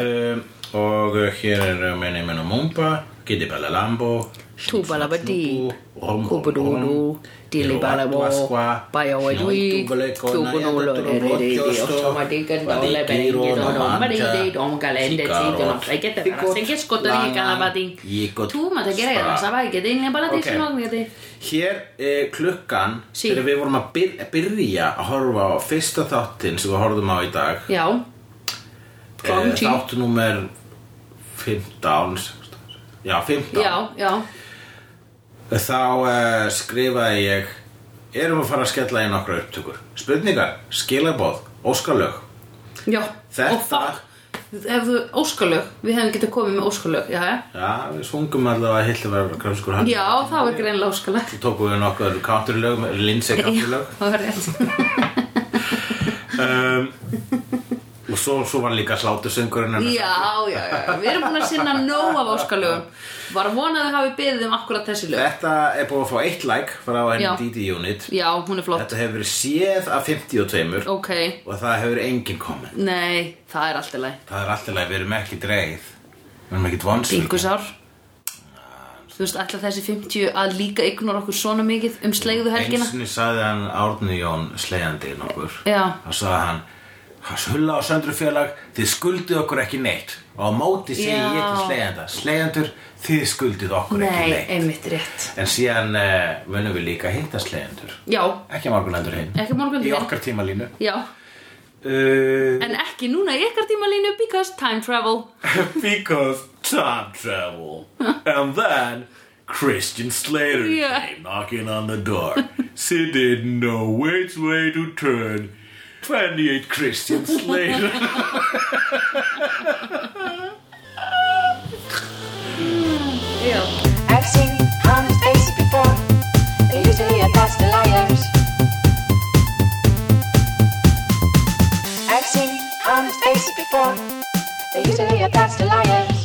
[SPEAKER 2] um, Og uh, hér er uh, minni minn og Mumba Giddi Bala Lambo
[SPEAKER 1] Túbalabadí
[SPEAKER 2] Rúmbúdúdú
[SPEAKER 1] Kúbudúdú Dilibalabó Bæjóadúi Túbunúlur Eririði Ostomadikandále Berengitónumariði Dómgalendetsidunum Sæketafarasengeskotaríkanabadí Túmatakerajansabæketinnebalatísinogniði
[SPEAKER 2] Hér eh, klukkan
[SPEAKER 1] Sí.
[SPEAKER 2] Þegar við vorum að byr byrja að horfa á fyrsta þáttinn sem við horfðum á í dag eh,
[SPEAKER 1] Já Klokkan tíu.
[SPEAKER 2] Þátt númer 15 Já, 15
[SPEAKER 1] Já, já
[SPEAKER 2] Þá eh, skrifaði ég Erum að fara að skella í nokkra upptökur Spurningar, skilaboð, óskalög
[SPEAKER 1] Já
[SPEAKER 2] Þetta-
[SPEAKER 1] Og fuck Ef þú óskalög Við hefum getað komið með óskalög Já, já
[SPEAKER 2] Já, við svungum allavega að hildi vera kröfskur hann
[SPEAKER 1] Já, það var greinlega óskalög
[SPEAKER 2] Svo tókum við nokkuð counterlög, Lindsay counterlög
[SPEAKER 1] Það var rétt
[SPEAKER 2] um, Og svo, svo var líka slátusöngurinn hennar.
[SPEAKER 1] Já, já, já, við erum búin að sinna nóg af óskalögum Var að vona að þau hafi beðið um akkurat þessi lög
[SPEAKER 2] Þetta er búið að fá eitt like frá henni
[SPEAKER 1] Já.
[SPEAKER 2] DD Unit
[SPEAKER 1] Já, hún er flott
[SPEAKER 2] Þetta hefur verið séð af 52
[SPEAKER 1] Ok,
[SPEAKER 2] og það hefur engin komið
[SPEAKER 1] nei, það er allt í lagi
[SPEAKER 2] Það er alltaf leið, við erum ekki dreigð Við erum ekki vonsvöld
[SPEAKER 1] Bingusár Þú veist, ætla þessi 50 að líka ignora okkur svona mikið um sleigðu helgina
[SPEAKER 2] Einsinni sagði hann Árni Jón slegjandi nokkur
[SPEAKER 1] Já.
[SPEAKER 2] Þá sagði hann Hans hulla og söndrufélag, þið skuldið okkur ekki neitt Og á móti segi
[SPEAKER 1] Já.
[SPEAKER 2] ég til slegjanda Slegjandur, þið skuldið okkur ekki
[SPEAKER 1] Nei,
[SPEAKER 2] neitt
[SPEAKER 1] einmitt rétt
[SPEAKER 2] En síðan uh, munum við líka hitta slegjandur
[SPEAKER 1] Já,
[SPEAKER 2] Ekki morgunendur hinn
[SPEAKER 1] Ekki á morguninn
[SPEAKER 2] Í
[SPEAKER 1] hinn.
[SPEAKER 2] okkar tímalínu
[SPEAKER 1] já,
[SPEAKER 2] uh,
[SPEAKER 1] en ekki núna í ykkar tímalínu because time travel
[SPEAKER 2] Because time travel And then Christian Slater
[SPEAKER 1] Yeah.
[SPEAKER 2] came knocking on the door She didn't know which way to turn 28 Christian Slater
[SPEAKER 1] Já,
[SPEAKER 3] I've seen honest faces before. They're usually a pass to liars. I've seen honest faces before. They're usually a pass to liars.